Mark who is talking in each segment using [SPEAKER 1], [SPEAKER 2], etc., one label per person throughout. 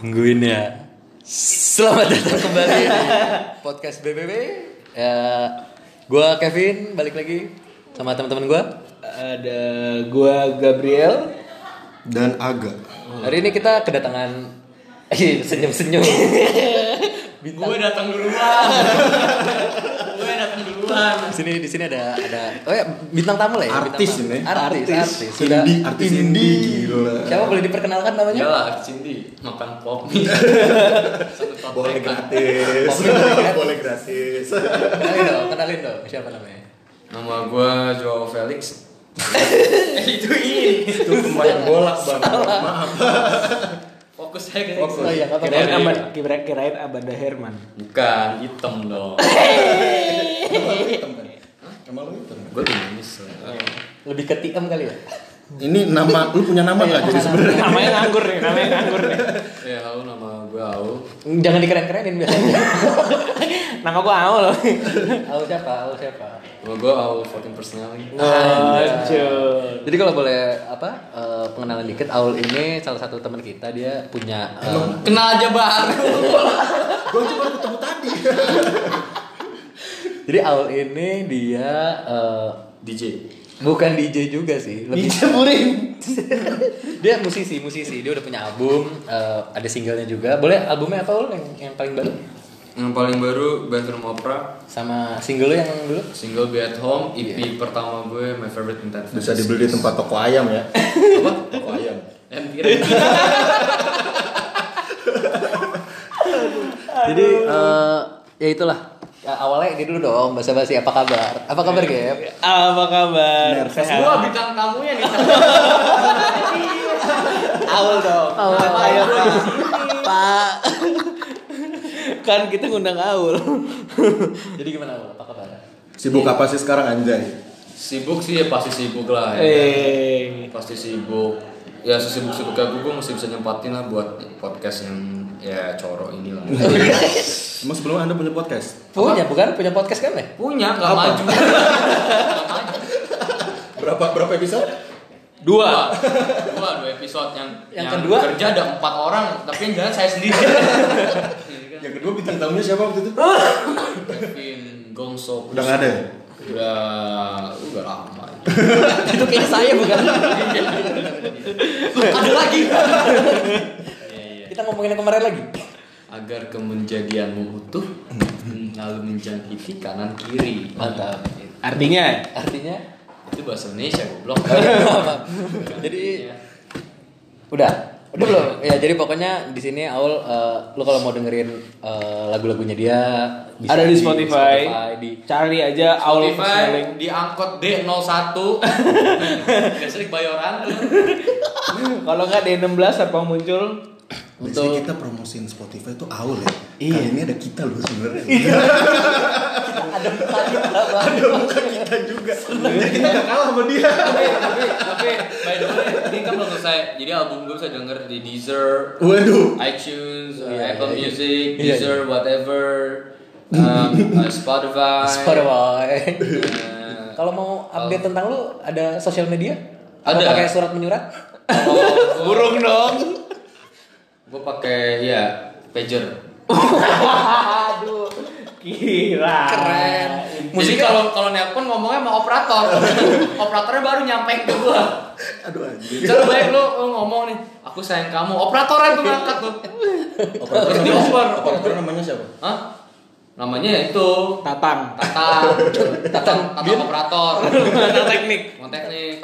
[SPEAKER 1] Tungguin ya. Selamat datang kembali di podcast BBB. Eh, gua Kevin balik lagi sama teman-teman gua.
[SPEAKER 2] Ada gua Gabriel.
[SPEAKER 3] dan agak
[SPEAKER 1] Hari ini kita kedatangan Ih, senyum-senyum.
[SPEAKER 2] Gue datang duluan. gue datang duluan.
[SPEAKER 1] Di sini di sini ada ada oh ya bintang tamu lah ya
[SPEAKER 3] artis
[SPEAKER 1] bintang
[SPEAKER 3] ini
[SPEAKER 1] tamu. artis, artis, Sudah
[SPEAKER 3] sudah artis indie gila
[SPEAKER 1] siapa boleh diperkenalkan namanya?
[SPEAKER 2] Yalah, Ya Cindy makan pop mie. Satu pop
[SPEAKER 3] boleh
[SPEAKER 2] tekan.
[SPEAKER 3] gratis
[SPEAKER 1] Boleh.
[SPEAKER 3] boleh gratis
[SPEAKER 1] Kenalin dong, kenalin dong siapa namanya?
[SPEAKER 2] Nama gua Joao Felix. itu ini.
[SPEAKER 3] itu pemain bola bang maaf
[SPEAKER 2] Fokus saya ke
[SPEAKER 3] Fokus.
[SPEAKER 1] Oh iya, nggak apa-apa.
[SPEAKER 2] Kirain abad-
[SPEAKER 4] Kirain abad, kira- kirain Abada Herman.
[SPEAKER 2] Bukan hitam dong.
[SPEAKER 3] emang lu hitam kan emang lu hitam kan?
[SPEAKER 2] gue tumis. ya.
[SPEAKER 1] Lebih ke TM kali ya?
[SPEAKER 3] ini nama lu punya nama nggak jadi sebenarnya
[SPEAKER 4] Namanya nganggur nih, namanya nganggur nih.
[SPEAKER 2] Eh, halo nama gue Au.
[SPEAKER 1] Jangan dikeren-kerenin biasanya.
[SPEAKER 4] Nama gua Aul.
[SPEAKER 1] Aku siapa? Aku siapa?
[SPEAKER 2] Nama gue Au Fucking Personality.
[SPEAKER 4] Lanjut.
[SPEAKER 1] Jadi kalau boleh apa eh, pengenalan dikit, Aul ini salah satu teman kita dia punya eh,
[SPEAKER 2] Kenal aja baru.
[SPEAKER 3] gue cuma ketemu tadi
[SPEAKER 1] jadi Aul ini dia eh,
[SPEAKER 2] DJ.
[SPEAKER 1] bukan DJ juga sih, lebih
[SPEAKER 3] dicemurin
[SPEAKER 1] dia musisi musisi dia udah punya album eh, ada singlenya juga. Boleh albumnya apa Aul yang, yang paling baru
[SPEAKER 2] Yang paling baru Bathroom Opera
[SPEAKER 1] sama single lu yang dulu?
[SPEAKER 2] Single Be At Home, EP
[SPEAKER 3] Iya.
[SPEAKER 2] pertama gue My Favorite Intent
[SPEAKER 3] bisa dibeli di tempat toko ayam ya
[SPEAKER 2] Apa?
[SPEAKER 3] toko ayam
[SPEAKER 1] Jadi eh, ya itulah Ya, awalnya ini dulu dong bahasa basi apa kabar? Apa kabar Gap?
[SPEAKER 4] Apa kabar?
[SPEAKER 2] Wah
[SPEAKER 4] Sehat.
[SPEAKER 2] bintang tamunya nih
[SPEAKER 4] Aul dong.
[SPEAKER 1] Aul.
[SPEAKER 4] Ayo, Pak.
[SPEAKER 1] Pak.
[SPEAKER 4] Kan kita ngundang Aul.
[SPEAKER 1] Jadi gimana Aul? Apa kabar?
[SPEAKER 3] sibuk apa sih sekarang anjay
[SPEAKER 2] Sibuk sih ya pasti sibuk lah
[SPEAKER 3] Iya.
[SPEAKER 2] ya.
[SPEAKER 4] Eh.
[SPEAKER 2] Pasti sibuk Ya sesibuk-sibuknya gue, gue masih bisa nyempatin lah buat podcast yang ya coro ini lah
[SPEAKER 3] emang sebelum anda punya podcast
[SPEAKER 1] Punya bukan? Punya podcast kan ya?
[SPEAKER 2] Punya, gak maju
[SPEAKER 3] berapa berapa episode
[SPEAKER 2] Dua Dua, dua episode yang
[SPEAKER 1] Yang kedua?
[SPEAKER 2] kerja ada empat orang, tapi yang jalan saya sendiri
[SPEAKER 3] yang kedua bintang tamunya siapa waktu itu
[SPEAKER 2] Kevin Gongso
[SPEAKER 3] udah nggak ada ya?
[SPEAKER 2] Udah, udah lama
[SPEAKER 1] itu kayak saya bukan
[SPEAKER 2] Ada lagi
[SPEAKER 1] kita ngomongin yang kemarin lagi
[SPEAKER 2] agar kemenjadianmu utuh hmm, lalu menjangkiti kanan kiri
[SPEAKER 1] Hmm. Mantap.
[SPEAKER 4] Artinya
[SPEAKER 1] artinya
[SPEAKER 2] itu bahasa Indonesia goblok Iya.
[SPEAKER 1] jadi udah udah belum ya jadi pokoknya di sini Aul eh, lu kalau mau dengerin eh, lagu-lagunya dia bisa
[SPEAKER 4] ada di Spotify.
[SPEAKER 1] di
[SPEAKER 4] Cari aja Aul
[SPEAKER 2] Spotify
[SPEAKER 4] Smelling.
[SPEAKER 2] di angkot D01 biasanya di Bayoran
[SPEAKER 4] Kalau nggak D16 apa muncul?
[SPEAKER 3] Biasanya kita promosiin Spotify tuh awal ya.
[SPEAKER 4] Iya.
[SPEAKER 3] Kali ini ada kita loh sebenarnya.
[SPEAKER 1] ada muka kita Bang.
[SPEAKER 3] kita juga. Jadi kita gak kalah sama dia.
[SPEAKER 2] tapi tapi by the way ini kan belum selesai jadi album gue bisa denger di Deezer
[SPEAKER 3] Waduh.
[SPEAKER 2] iTunes uh,
[SPEAKER 1] Iya,
[SPEAKER 2] Apple
[SPEAKER 1] iya, iya.
[SPEAKER 2] Music
[SPEAKER 1] Iya,
[SPEAKER 2] Deezer whatever um, uh, Spotify
[SPEAKER 1] Spotify
[SPEAKER 2] Uh,
[SPEAKER 1] kalau mau update tentang lu ada sosial media
[SPEAKER 2] Ada.
[SPEAKER 1] pakai surat menyurat
[SPEAKER 2] kalau gua-
[SPEAKER 4] Burung dong.
[SPEAKER 2] gue uh, pakai ya pager
[SPEAKER 4] Aduh. Kira.
[SPEAKER 1] Keren.
[SPEAKER 2] Jadi
[SPEAKER 1] Musiknya-
[SPEAKER 2] kalau kalau nelpon ngomongnya sama operator, operatornya baru nyampe ke gua.
[SPEAKER 3] Aduh anjing.
[SPEAKER 2] Coba baik lu, lu ngomong nih, aku sayang kamu. Operatornya tuh ngangkat tuh.
[SPEAKER 3] Operator
[SPEAKER 2] Terus di over.
[SPEAKER 3] Operator namanya siapa?
[SPEAKER 2] Hah? Namanya ya itu
[SPEAKER 4] Tatang.
[SPEAKER 2] Tatang. Tatang, Tatang operator.
[SPEAKER 4] Tatang teknik.
[SPEAKER 2] Ngomong teknik.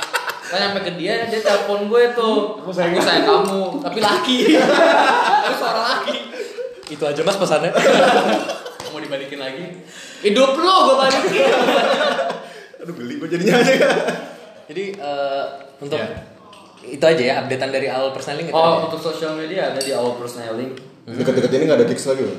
[SPEAKER 2] Kan nyampe ke dia, dia telepon gue tuh. Aku sayang, kamu, tapi laki. Tapi suara laki.
[SPEAKER 1] itu aja mas pesannya
[SPEAKER 2] Mau dibalikin lagi? Hidup lu gue balikin.
[SPEAKER 3] Aduh geli gue jadinya aja.
[SPEAKER 1] jadi eh, untuk
[SPEAKER 2] Ya.
[SPEAKER 1] itu aja ya updatean dari Aul personally gitu
[SPEAKER 2] Oh, untuk sosial media ada di awal personaling.
[SPEAKER 3] Dekat-dekat ini gak ada gigs lagi loh.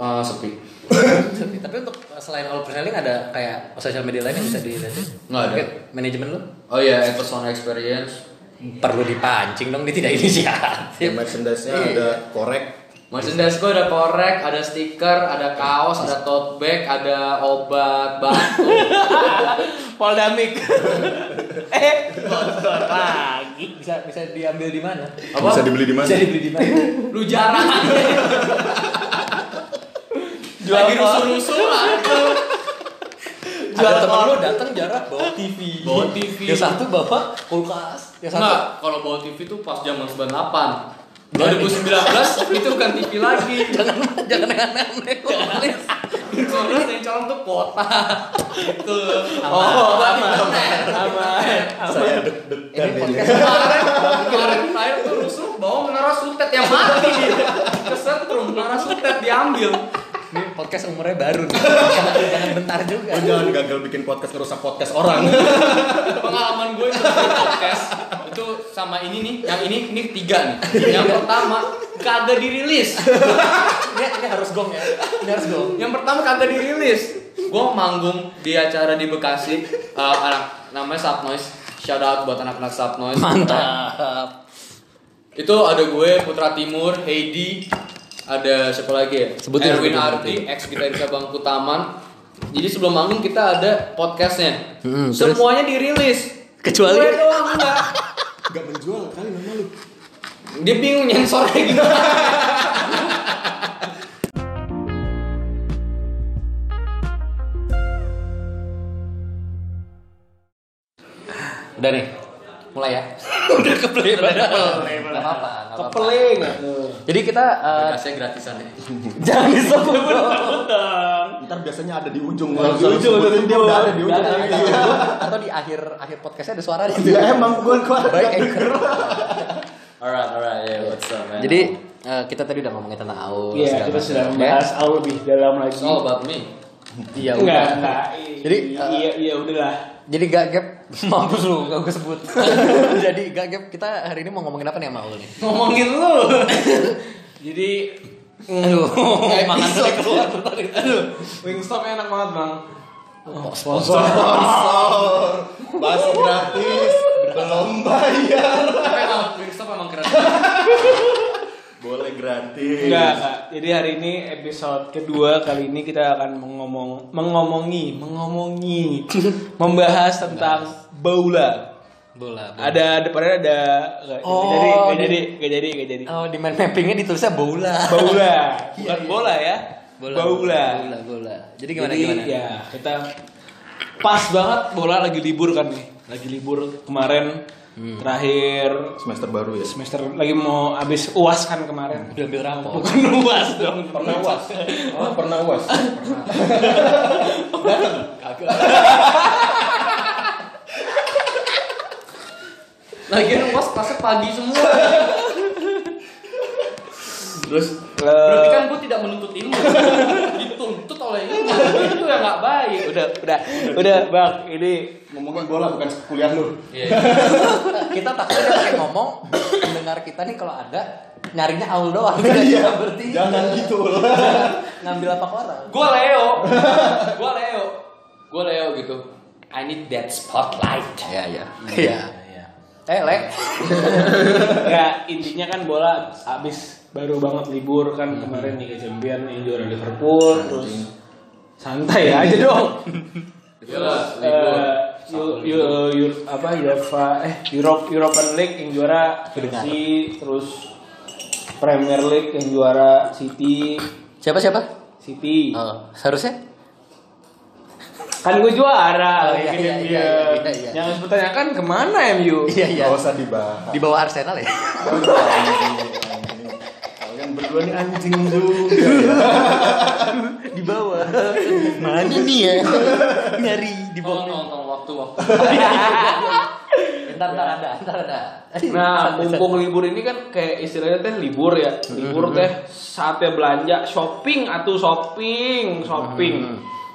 [SPEAKER 2] Eh, sepi.
[SPEAKER 1] Tapi tapi untuk selain all personaling ada kayak social media lain yang bisa dilihatin?
[SPEAKER 2] Nggak ada.
[SPEAKER 1] Mungkin Manajemen lu
[SPEAKER 2] Oh iya, yeah, Persona Experience.
[SPEAKER 1] perlu dipancing dong dia tidak inisiatif.
[SPEAKER 3] merchandise-nya
[SPEAKER 1] Iya.
[SPEAKER 3] ada korek.
[SPEAKER 2] Merchandise gue ada korek, ada stiker, ada kaos, ada tote bag, ada obat batuk.
[SPEAKER 4] Poldamik. eh, sponsor lagi.
[SPEAKER 1] Bisa bisa diambil di mana?
[SPEAKER 2] Apa?
[SPEAKER 3] Bisa dibeli di mana?
[SPEAKER 1] Bisa dibeli di mana?
[SPEAKER 2] Lu jarang.
[SPEAKER 4] Jual
[SPEAKER 2] Lagi rusuh-rusuh lah.
[SPEAKER 1] Ada temen lu datang jarak bawa TV.
[SPEAKER 2] Bawa TV.
[SPEAKER 1] Yang satu bapak kulkas.
[SPEAKER 3] Ya,
[SPEAKER 1] Yang satu
[SPEAKER 2] Enggak, kalau bawa TV tuh pas zaman 98. 2019 itu bukan TV lagi.
[SPEAKER 1] jangan jangan aneh-aneh. Jurnalis.
[SPEAKER 2] 2019 yang colong tuh kota. Gitu.
[SPEAKER 4] Oh,
[SPEAKER 2] Aman.
[SPEAKER 4] aman. Aman.
[SPEAKER 3] Saya deg-degan
[SPEAKER 1] Ini
[SPEAKER 3] ini.
[SPEAKER 1] podcast.
[SPEAKER 2] Kemarin, kemarin terakhir tuh rusuh bawa menara sutet yang mati. Kesetrum menara sutet diambil.
[SPEAKER 1] Ini podcast umurnya baru nih. Jangan, jangan bentar juga.
[SPEAKER 3] Lo jangan gagal bikin podcast ngerusak podcast orang.
[SPEAKER 2] pengalaman gue itu bikin podcast itu sama ini nih yang ini ini tiga nih yang pertama kagak dirilis
[SPEAKER 1] Ini, ini harus gong ya. Ini harus gong.
[SPEAKER 2] yang pertama kagak dirilis gue manggung di acara di Bekasi eh, anak namanya Sub Noise shout out buat anak-anak Sub Noise
[SPEAKER 1] Mantap.
[SPEAKER 2] itu ada gue Putra Timur Heidi ada siapa lagi ya
[SPEAKER 1] Sebutin,
[SPEAKER 2] Erwin
[SPEAKER 1] sebutin,
[SPEAKER 2] Arti ex gitarisnya Bang Kutaman jadi sebelum manggung kita ada podcastnya
[SPEAKER 1] Hmm, terus?
[SPEAKER 2] semuanya dirilis
[SPEAKER 1] Kecuali-
[SPEAKER 2] gue doang enggak
[SPEAKER 3] Gak menjual kali nama lu.
[SPEAKER 2] dia bingung nyensornya gimana
[SPEAKER 1] Udah nih. Mulai ya. Udah kepelin banget. Enggak apa-apa, nggak apa-apa.
[SPEAKER 4] Kepeling.
[SPEAKER 1] Jadi kita eh,
[SPEAKER 2] Kasih gratisan ya.
[SPEAKER 1] jangan disebut dong.
[SPEAKER 3] Ntar biasanya ada di ujung.
[SPEAKER 4] Kalau
[SPEAKER 3] Kalau
[SPEAKER 4] di ujung,
[SPEAKER 3] sebutin,
[SPEAKER 4] di
[SPEAKER 3] dia
[SPEAKER 4] ujung.
[SPEAKER 3] udah kan, ada di
[SPEAKER 1] Udah
[SPEAKER 3] ujung.
[SPEAKER 1] ada, ada, ada. atau di akhir akhir podcastnya ada suara gitu.
[SPEAKER 3] Ya
[SPEAKER 4] Iya,
[SPEAKER 3] emang gue kuat.
[SPEAKER 1] Baik eh. anchor.
[SPEAKER 2] Alright, alright, yeah, what's up, man?
[SPEAKER 1] Jadi eh, kita tadi udah ngomongin tentang aul.
[SPEAKER 4] Iya,
[SPEAKER 1] segala
[SPEAKER 4] kita
[SPEAKER 1] macam,
[SPEAKER 4] sudah
[SPEAKER 1] ya.
[SPEAKER 4] membahas Al lebih dalam lagi.
[SPEAKER 2] it's all Oh, about me.
[SPEAKER 1] Oh, Iya,
[SPEAKER 4] enggak,
[SPEAKER 1] udah.
[SPEAKER 4] enggak.
[SPEAKER 1] Jadi,
[SPEAKER 4] Jadi
[SPEAKER 1] eh,
[SPEAKER 4] iya iya udahlah.
[SPEAKER 1] Jadi gak gap mampus lu gak gue sebut. Jadi gak gap kita hari ini mau ngomongin apa nih sama lu nih?
[SPEAKER 2] Ngomongin lu. Jadi
[SPEAKER 1] Aduh, Oh, makan
[SPEAKER 2] episode.
[SPEAKER 1] tuh keluar bentar itu.
[SPEAKER 4] Wingstop enak banget, Bang.
[SPEAKER 1] Oh, sponsor.
[SPEAKER 3] Sponsor. Bas gratis. iya. Belum bayar.
[SPEAKER 2] emang Wingstop emang keren.
[SPEAKER 3] Boleh gratis.
[SPEAKER 4] Enggak, enggak. Jadi hari ini episode kedua kali ini kita akan mengomong mengomongi, mengomongi membahas tentang baula.
[SPEAKER 1] Bola. bola.
[SPEAKER 4] Ada depannya ada enggak
[SPEAKER 1] Oh,
[SPEAKER 4] jadi
[SPEAKER 1] di-
[SPEAKER 4] enggak jadi enggak jadi enggak jadi.
[SPEAKER 1] Oh, di mind mappingnya ditulisnya bola.
[SPEAKER 4] Baula, bukan bola ya. Baula.
[SPEAKER 1] Bola, bola. Jadi gimana
[SPEAKER 4] Jadi,
[SPEAKER 1] gimana?
[SPEAKER 4] Ya, kita pas banget bola lagi libur kan nih. Lagi libur kemarin
[SPEAKER 1] Hmm.
[SPEAKER 4] terakhir
[SPEAKER 3] Semester baru ya.
[SPEAKER 4] semester lagi mau habis UAS kan kemarin.
[SPEAKER 1] Udah ambil rapor.
[SPEAKER 4] Bukan UAS dong, pernah UAS.
[SPEAKER 3] Oh, pernah was.
[SPEAKER 2] Lagian bos kelasnya pagi semua.
[SPEAKER 3] Terus
[SPEAKER 2] Berarti kan gue tidak menuntut ilmu. Dituntut oleh ilmu. Itu yang gak baik.
[SPEAKER 4] udah, udah, udah, Bang. Ini
[SPEAKER 3] ngomongin bola bukan kuliah lu.
[SPEAKER 1] kita takutnya pakai ngomong mendengar kita nih kalau ada nyarinya aul doang. Iya, berarti
[SPEAKER 3] Jangan gitu loh.
[SPEAKER 1] ngambil apa ke orang.
[SPEAKER 2] Gue Leo. Gue Leo. Gue Leo gitu. I need that spotlight.
[SPEAKER 1] Iya, iya. Iya. Eh, Lek.
[SPEAKER 4] ya intinya kan bola habis baru banget libur kan
[SPEAKER 1] Hmm.
[SPEAKER 4] kemarin Liga Champion yang juara Liverpool terus santai aja dong.
[SPEAKER 2] Jelas, libur.
[SPEAKER 4] Eh, Yu- Yu- Yu- apa UEFA eh Europe European League yang juara Chelsea terus Premier League yang juara City
[SPEAKER 1] Siapa siapa?
[SPEAKER 4] City
[SPEAKER 1] Eh, seharusnya
[SPEAKER 4] kan gue juara
[SPEAKER 1] Oh, iya,
[SPEAKER 4] gini
[SPEAKER 1] iya,
[SPEAKER 4] dia.
[SPEAKER 1] iya, iya, iya.
[SPEAKER 4] yang harus pertanyakan kemana MU
[SPEAKER 1] Iya, iya.
[SPEAKER 3] Gak usah dibahas.
[SPEAKER 1] Di bawah Arsenal ya.
[SPEAKER 3] Kalian berdua nih anjing juga ya.
[SPEAKER 1] Di bawah. Mana nih ya? Nyari di
[SPEAKER 2] Tolong, tolong, tolong, waktu, waktu.
[SPEAKER 1] Entar entar ada, entar ada.
[SPEAKER 4] nah mumpung libur ini kan kayak istilahnya teh libur ya
[SPEAKER 1] Mm-hmm.
[SPEAKER 4] libur teh saatnya belanja shopping atau shopping
[SPEAKER 1] Mm-hmm.
[SPEAKER 4] shopping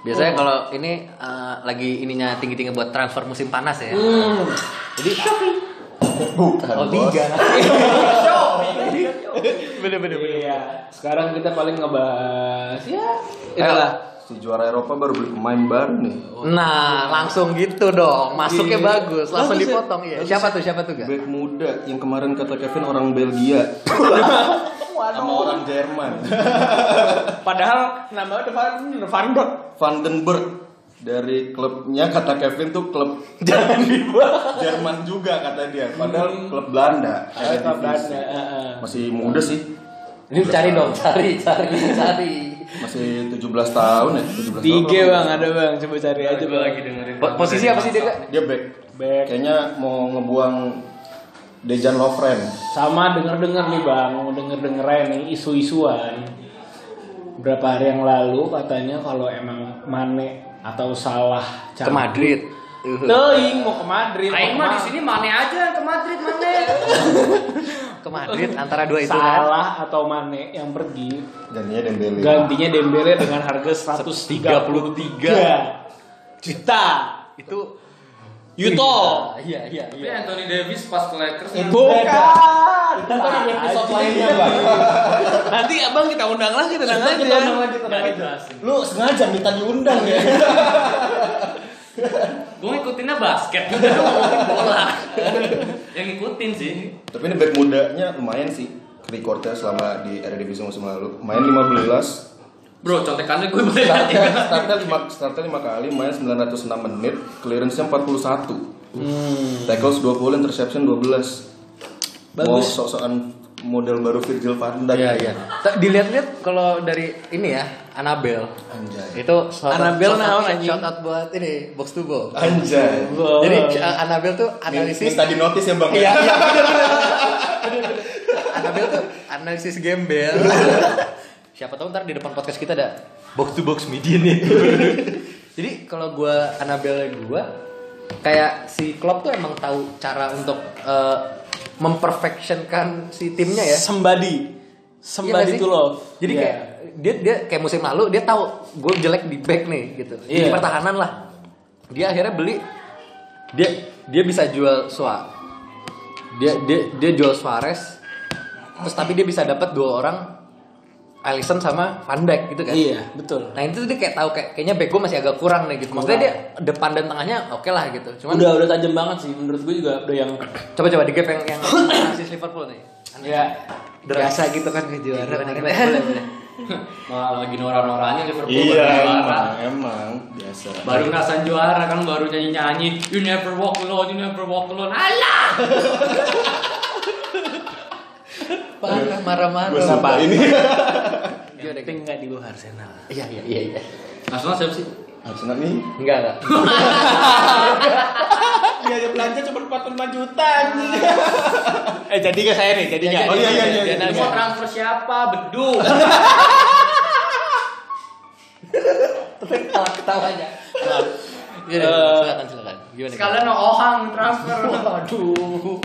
[SPEAKER 1] Biasanya kalau ini eh, lagi ininya tinggi-tinggi buat transfer musim panas ya.
[SPEAKER 4] Hmm.
[SPEAKER 1] Jadi
[SPEAKER 5] Kan,
[SPEAKER 3] Bukan
[SPEAKER 1] Oh,
[SPEAKER 3] bos.
[SPEAKER 1] tiga.
[SPEAKER 4] Iya. Sekarang kita paling ngebahas ya
[SPEAKER 1] Ayolah.
[SPEAKER 4] itulah
[SPEAKER 3] Si juara Eropa baru beli pemain baru nih.
[SPEAKER 1] Nah, langsung gitu dong. Masuknya
[SPEAKER 4] Iya.
[SPEAKER 1] bagus, langsung iya.
[SPEAKER 4] Bagus ya.
[SPEAKER 1] dipotong ya. Siapa tuh? Siapa tuh, Ga?
[SPEAKER 3] Back muda yang kemarin kata Kevin orang Belgia.
[SPEAKER 4] semua
[SPEAKER 5] sama
[SPEAKER 4] dong.
[SPEAKER 5] orang Jerman
[SPEAKER 4] Padahal namanya udah Van udah Van Dort.
[SPEAKER 5] Vandenberg dari klubnya kata Kevin tuh klub
[SPEAKER 4] Jangan dibuang.
[SPEAKER 5] Jerman juga kata dia padahal klub Belanda Ada
[SPEAKER 4] Ada
[SPEAKER 5] divisi.
[SPEAKER 4] Belanda. eh, eh.
[SPEAKER 5] masih muda sih
[SPEAKER 1] Ini cari dong, cari, cari, cari.
[SPEAKER 5] masih 17 tahun ya 17
[SPEAKER 4] Tiga
[SPEAKER 5] tahun.
[SPEAKER 4] bang ada bang coba cari aja
[SPEAKER 2] Coba
[SPEAKER 4] bang.
[SPEAKER 2] lagi dengerin.
[SPEAKER 1] Po- Posisi apa sih dia? Kak?
[SPEAKER 5] dia back
[SPEAKER 4] Back.
[SPEAKER 5] kayaknya mau ngebuang Dejan Lovren
[SPEAKER 4] Sama denger-denger nih bang, denger-dengeran nih isu-isuan. Berapa hari yang lalu katanya kalau emang Mane atau salah
[SPEAKER 1] Ke Madrid.
[SPEAKER 4] Teing mau ke Madrid. mau
[SPEAKER 2] Aing
[SPEAKER 4] ke
[SPEAKER 2] mah di
[SPEAKER 4] Madrid.
[SPEAKER 2] sini Mane aja ke Madrid Mane.
[SPEAKER 1] Ke Madrid antara dua itu kan.
[SPEAKER 4] salah atau Mane yang pergi
[SPEAKER 5] dan dia Dembele
[SPEAKER 4] gantinya Dembele dengan harga 133 juta
[SPEAKER 1] Itu
[SPEAKER 4] Yuto
[SPEAKER 1] Iya, iya,
[SPEAKER 2] Tapi
[SPEAKER 1] iya.
[SPEAKER 2] Anthony Davis pas ke Lakers kan
[SPEAKER 4] bukan
[SPEAKER 2] Bukan di episode lainnya, Bang.
[SPEAKER 4] Iya. nanti abang kita undang lagi tenang aja
[SPEAKER 5] Kita undang lagi, kita undang
[SPEAKER 2] Nggak
[SPEAKER 5] aja.
[SPEAKER 2] dijelasin.
[SPEAKER 5] Lu sengaja minta diundang ya?
[SPEAKER 2] Gue ngikutinnya basket, gue ngikutin bola. Yang ngikutin sih.
[SPEAKER 5] Tapi ini back mudanya lumayan sih recordnya selama di Eredivisie musim lalu main 15
[SPEAKER 2] Bro, contekannya gue banyak
[SPEAKER 5] startnya
[SPEAKER 2] banget.
[SPEAKER 5] startnya 5 startnya 5 kali main 906 menit clearance-nya 41 tackles 20 interception 12 mau
[SPEAKER 4] Bagus.
[SPEAKER 5] sok-sokan model baru Virgil van Dijk
[SPEAKER 1] Iya, iya. Ta- Dilihat-lihat kalau dari ini ya, Anabel.
[SPEAKER 5] anjay
[SPEAKER 1] Itu shout out-
[SPEAKER 4] Annabelle
[SPEAKER 1] shout
[SPEAKER 4] naon,
[SPEAKER 1] out-
[SPEAKER 4] anjing?
[SPEAKER 1] shout out buat ini box to box.
[SPEAKER 5] anjay
[SPEAKER 1] Jadi
[SPEAKER 4] eh,
[SPEAKER 1] uh, Anabel tuh analisis
[SPEAKER 5] analisis tadi notis ya bang
[SPEAKER 1] Iya, iya bener, bener. Anabel tuh analisis gembel. Siapa tahu ntar di depan podcast kita ada box to box media nih. Jadi kalau gua Anabel gua kayak si Klopp tuh emang tahu cara untuk eh, memperfectionkan si timnya ya.
[SPEAKER 4] sembadi
[SPEAKER 1] Iya nggak
[SPEAKER 4] sembadi
[SPEAKER 1] sih?
[SPEAKER 4] tuh loh
[SPEAKER 1] Jadi
[SPEAKER 4] Iya.
[SPEAKER 1] kayak dia dia kayak musim lalu dia tahu gue jelek di back nih gitu. Di
[SPEAKER 4] Iya.
[SPEAKER 1] pertahanan lah. Dia akhirnya beli dia dia bisa jual Sua. Dia dia dia jual Suarez. Terus tapi dia bisa dapat dua orang Alisson sama Van Dijk gitu kan.
[SPEAKER 4] iya betul
[SPEAKER 1] Nah itu dia kayak tahu kayak kayaknya back gue masih agak kurang nih gitu. Maksudnya dia depan dan tengahnya oke lah gitu. Cuman
[SPEAKER 4] udah udah tajam banget sih menurut gue juga udah yang
[SPEAKER 1] coba coba di gap yang yang analisis Liverpool nih.
[SPEAKER 4] ya
[SPEAKER 1] Berasa gitu kan ke juara.
[SPEAKER 2] Malah lagi norak-noraknya Liverpool
[SPEAKER 5] iya
[SPEAKER 2] baru juara.
[SPEAKER 5] emang emang biasa
[SPEAKER 2] Baru ngerasain juara kan baru nyanyi-nyanyi You never walk alone, you never walk alone Allah!
[SPEAKER 1] Parah marah-marah.
[SPEAKER 5] Gua suka ini
[SPEAKER 1] Dia Iya, udah gitu.
[SPEAKER 4] penting nggak di bawah Arsenal
[SPEAKER 1] Iya iya iya iya.
[SPEAKER 2] Arsenal siapa sih?
[SPEAKER 5] Arsenal nih
[SPEAKER 1] Enggak enggak.
[SPEAKER 4] biaya belanja cuma 45 juta eh jadi nggak saya nih jadi nggak
[SPEAKER 5] Oh, iya, iya, iya, iya.
[SPEAKER 4] Jadi
[SPEAKER 2] Mau
[SPEAKER 4] nggak?
[SPEAKER 2] transfer siapa? Bedu
[SPEAKER 1] Ketawa ketawanya. Gini,
[SPEAKER 4] Eh,
[SPEAKER 1] Nah, iya, silakan silakan. Gimana? Gimana?
[SPEAKER 2] Sekalian no Ohang transfer
[SPEAKER 4] Aduh.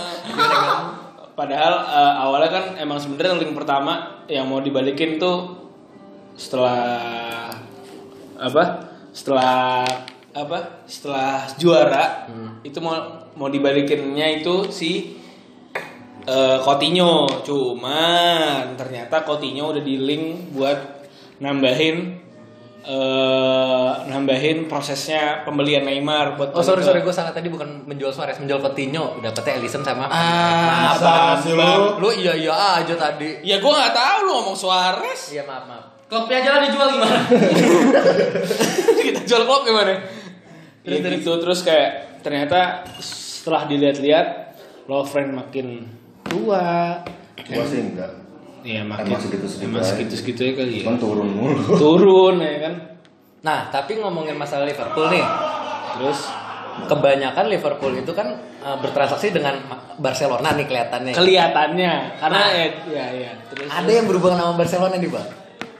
[SPEAKER 4] Padahal eh, awalnya kan emang sebenarnya link pertama yang mau dibalikin tuh setelah apa? Setelah apa? Setelah juara itu mau mau dibalikinnya itu si eh, Coutinho. Cuman ternyata Coutinho udah di link buat nambahin eh nambahin prosesnya pembelian Neymar buat
[SPEAKER 1] Oh sorry
[SPEAKER 4] untuk-
[SPEAKER 1] sorry gue salah tadi bukan menjual Suarez menjual Coutinho dapetnya Alisson sama
[SPEAKER 4] Ah,
[SPEAKER 5] Masa sih lu?
[SPEAKER 1] Lu iya iya aja tadi.
[SPEAKER 4] Ya gua nggak tahu lu ngomong Suarez.
[SPEAKER 1] Iya maaf maaf.
[SPEAKER 2] Kopi aja lah dijual gimana?
[SPEAKER 4] Kita jual klub gimana? Ya gitu terus kayak ternyata setelah dilihat-lihat Lovren makin tua.
[SPEAKER 5] gua sih enggak
[SPEAKER 4] Iya makin
[SPEAKER 5] Emang segitu-segitu
[SPEAKER 4] emang
[SPEAKER 5] aja.
[SPEAKER 4] segitu-segitu ya kali ya.
[SPEAKER 5] Iya. cuman turun mulu
[SPEAKER 4] Turun ya kan.
[SPEAKER 1] Nah tapi ngomongin masalah Liverpool nih.
[SPEAKER 4] Terus
[SPEAKER 1] Kebanyakan Liverpool itu kan eh, bertransaksi dengan Ma- Barcelona nih kelihatannya.
[SPEAKER 4] kelihatannya karena ya ya, ya. terus
[SPEAKER 1] Ada yang berhubungan sama Barcelona nih bang.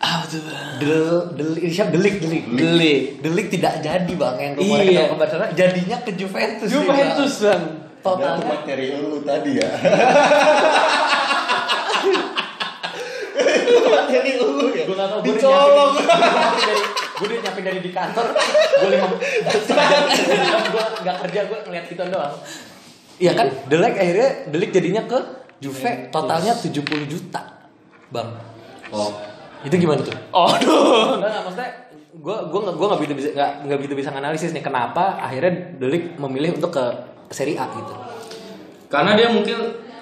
[SPEAKER 4] ah betul Bang.
[SPEAKER 1] Del, del, siapa delik, delik,
[SPEAKER 4] Delik.
[SPEAKER 1] delik tidak jadi bang yang kemarin
[SPEAKER 4] Iya.
[SPEAKER 1] ke Barcelona, jadinya ke Juventus. nih, Bang.
[SPEAKER 4] Juventus bang.
[SPEAKER 1] totalnya
[SPEAKER 5] Padahal tempat nyari lu tadi ya
[SPEAKER 1] dari lu ya. Gue tahu.
[SPEAKER 5] Dicolong.
[SPEAKER 1] Gue udah nyampe dari di kantor. Gue lima. Gue nggak kerja. Gue ngeliat gitu doang. Iya kan. Delik akhirnya delik jadinya ke Juve. Totalnya 70 juta, bang. Oh. Itu gimana tuh?
[SPEAKER 4] Aduh.
[SPEAKER 1] Enggak, enggak maksudnya gue gue nggak gue nggak begitu bisa nggak nggak begitu bisa nganalisis nih kenapa akhirnya delik memilih untuk ke Serie A gitu.
[SPEAKER 2] Karena dia mungkin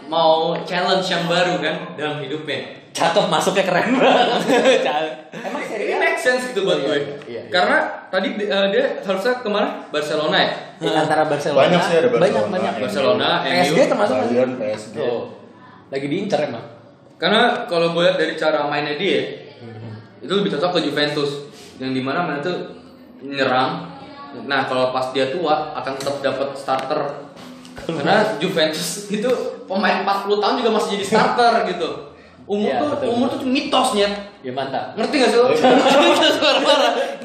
[SPEAKER 2] mau challenge yang baru kan dalam hidupnya.
[SPEAKER 1] Catok masuknya keren banget.
[SPEAKER 2] Emang ini make sense gitu buat
[SPEAKER 1] Iya,
[SPEAKER 2] gue.
[SPEAKER 1] iya, iya.
[SPEAKER 2] Karena tadi eh, dia harusnya kemana? Barcelona ya.
[SPEAKER 1] Di antara Barcelona.
[SPEAKER 5] Banyak sih ada
[SPEAKER 1] Banyak
[SPEAKER 5] Barcelona, Iya.
[SPEAKER 1] banyak.
[SPEAKER 5] MU.
[SPEAKER 2] Barcelona,
[SPEAKER 1] PSG
[SPEAKER 2] MU.
[SPEAKER 1] termasuk nggak sih?
[SPEAKER 5] Bayern PSG.
[SPEAKER 1] Oh.
[SPEAKER 2] Tuh.
[SPEAKER 1] Lagi diincer emang.
[SPEAKER 2] Karena kalau gue lihat dari cara mainnya dia,
[SPEAKER 5] Mhm.
[SPEAKER 2] itu lebih cocok ke Juventus yang dimana mana tuh nyerang. Nah kalau pas dia tua akan tetap dapat starter. Karena Juventus itu pemain 40 tahun juga masih jadi starter gitu. Umur
[SPEAKER 1] Iya,
[SPEAKER 2] tuh
[SPEAKER 1] betul,
[SPEAKER 2] umur tuh mitosnya.
[SPEAKER 1] Ya mantap. iya.
[SPEAKER 2] Ngerti gak sih lo?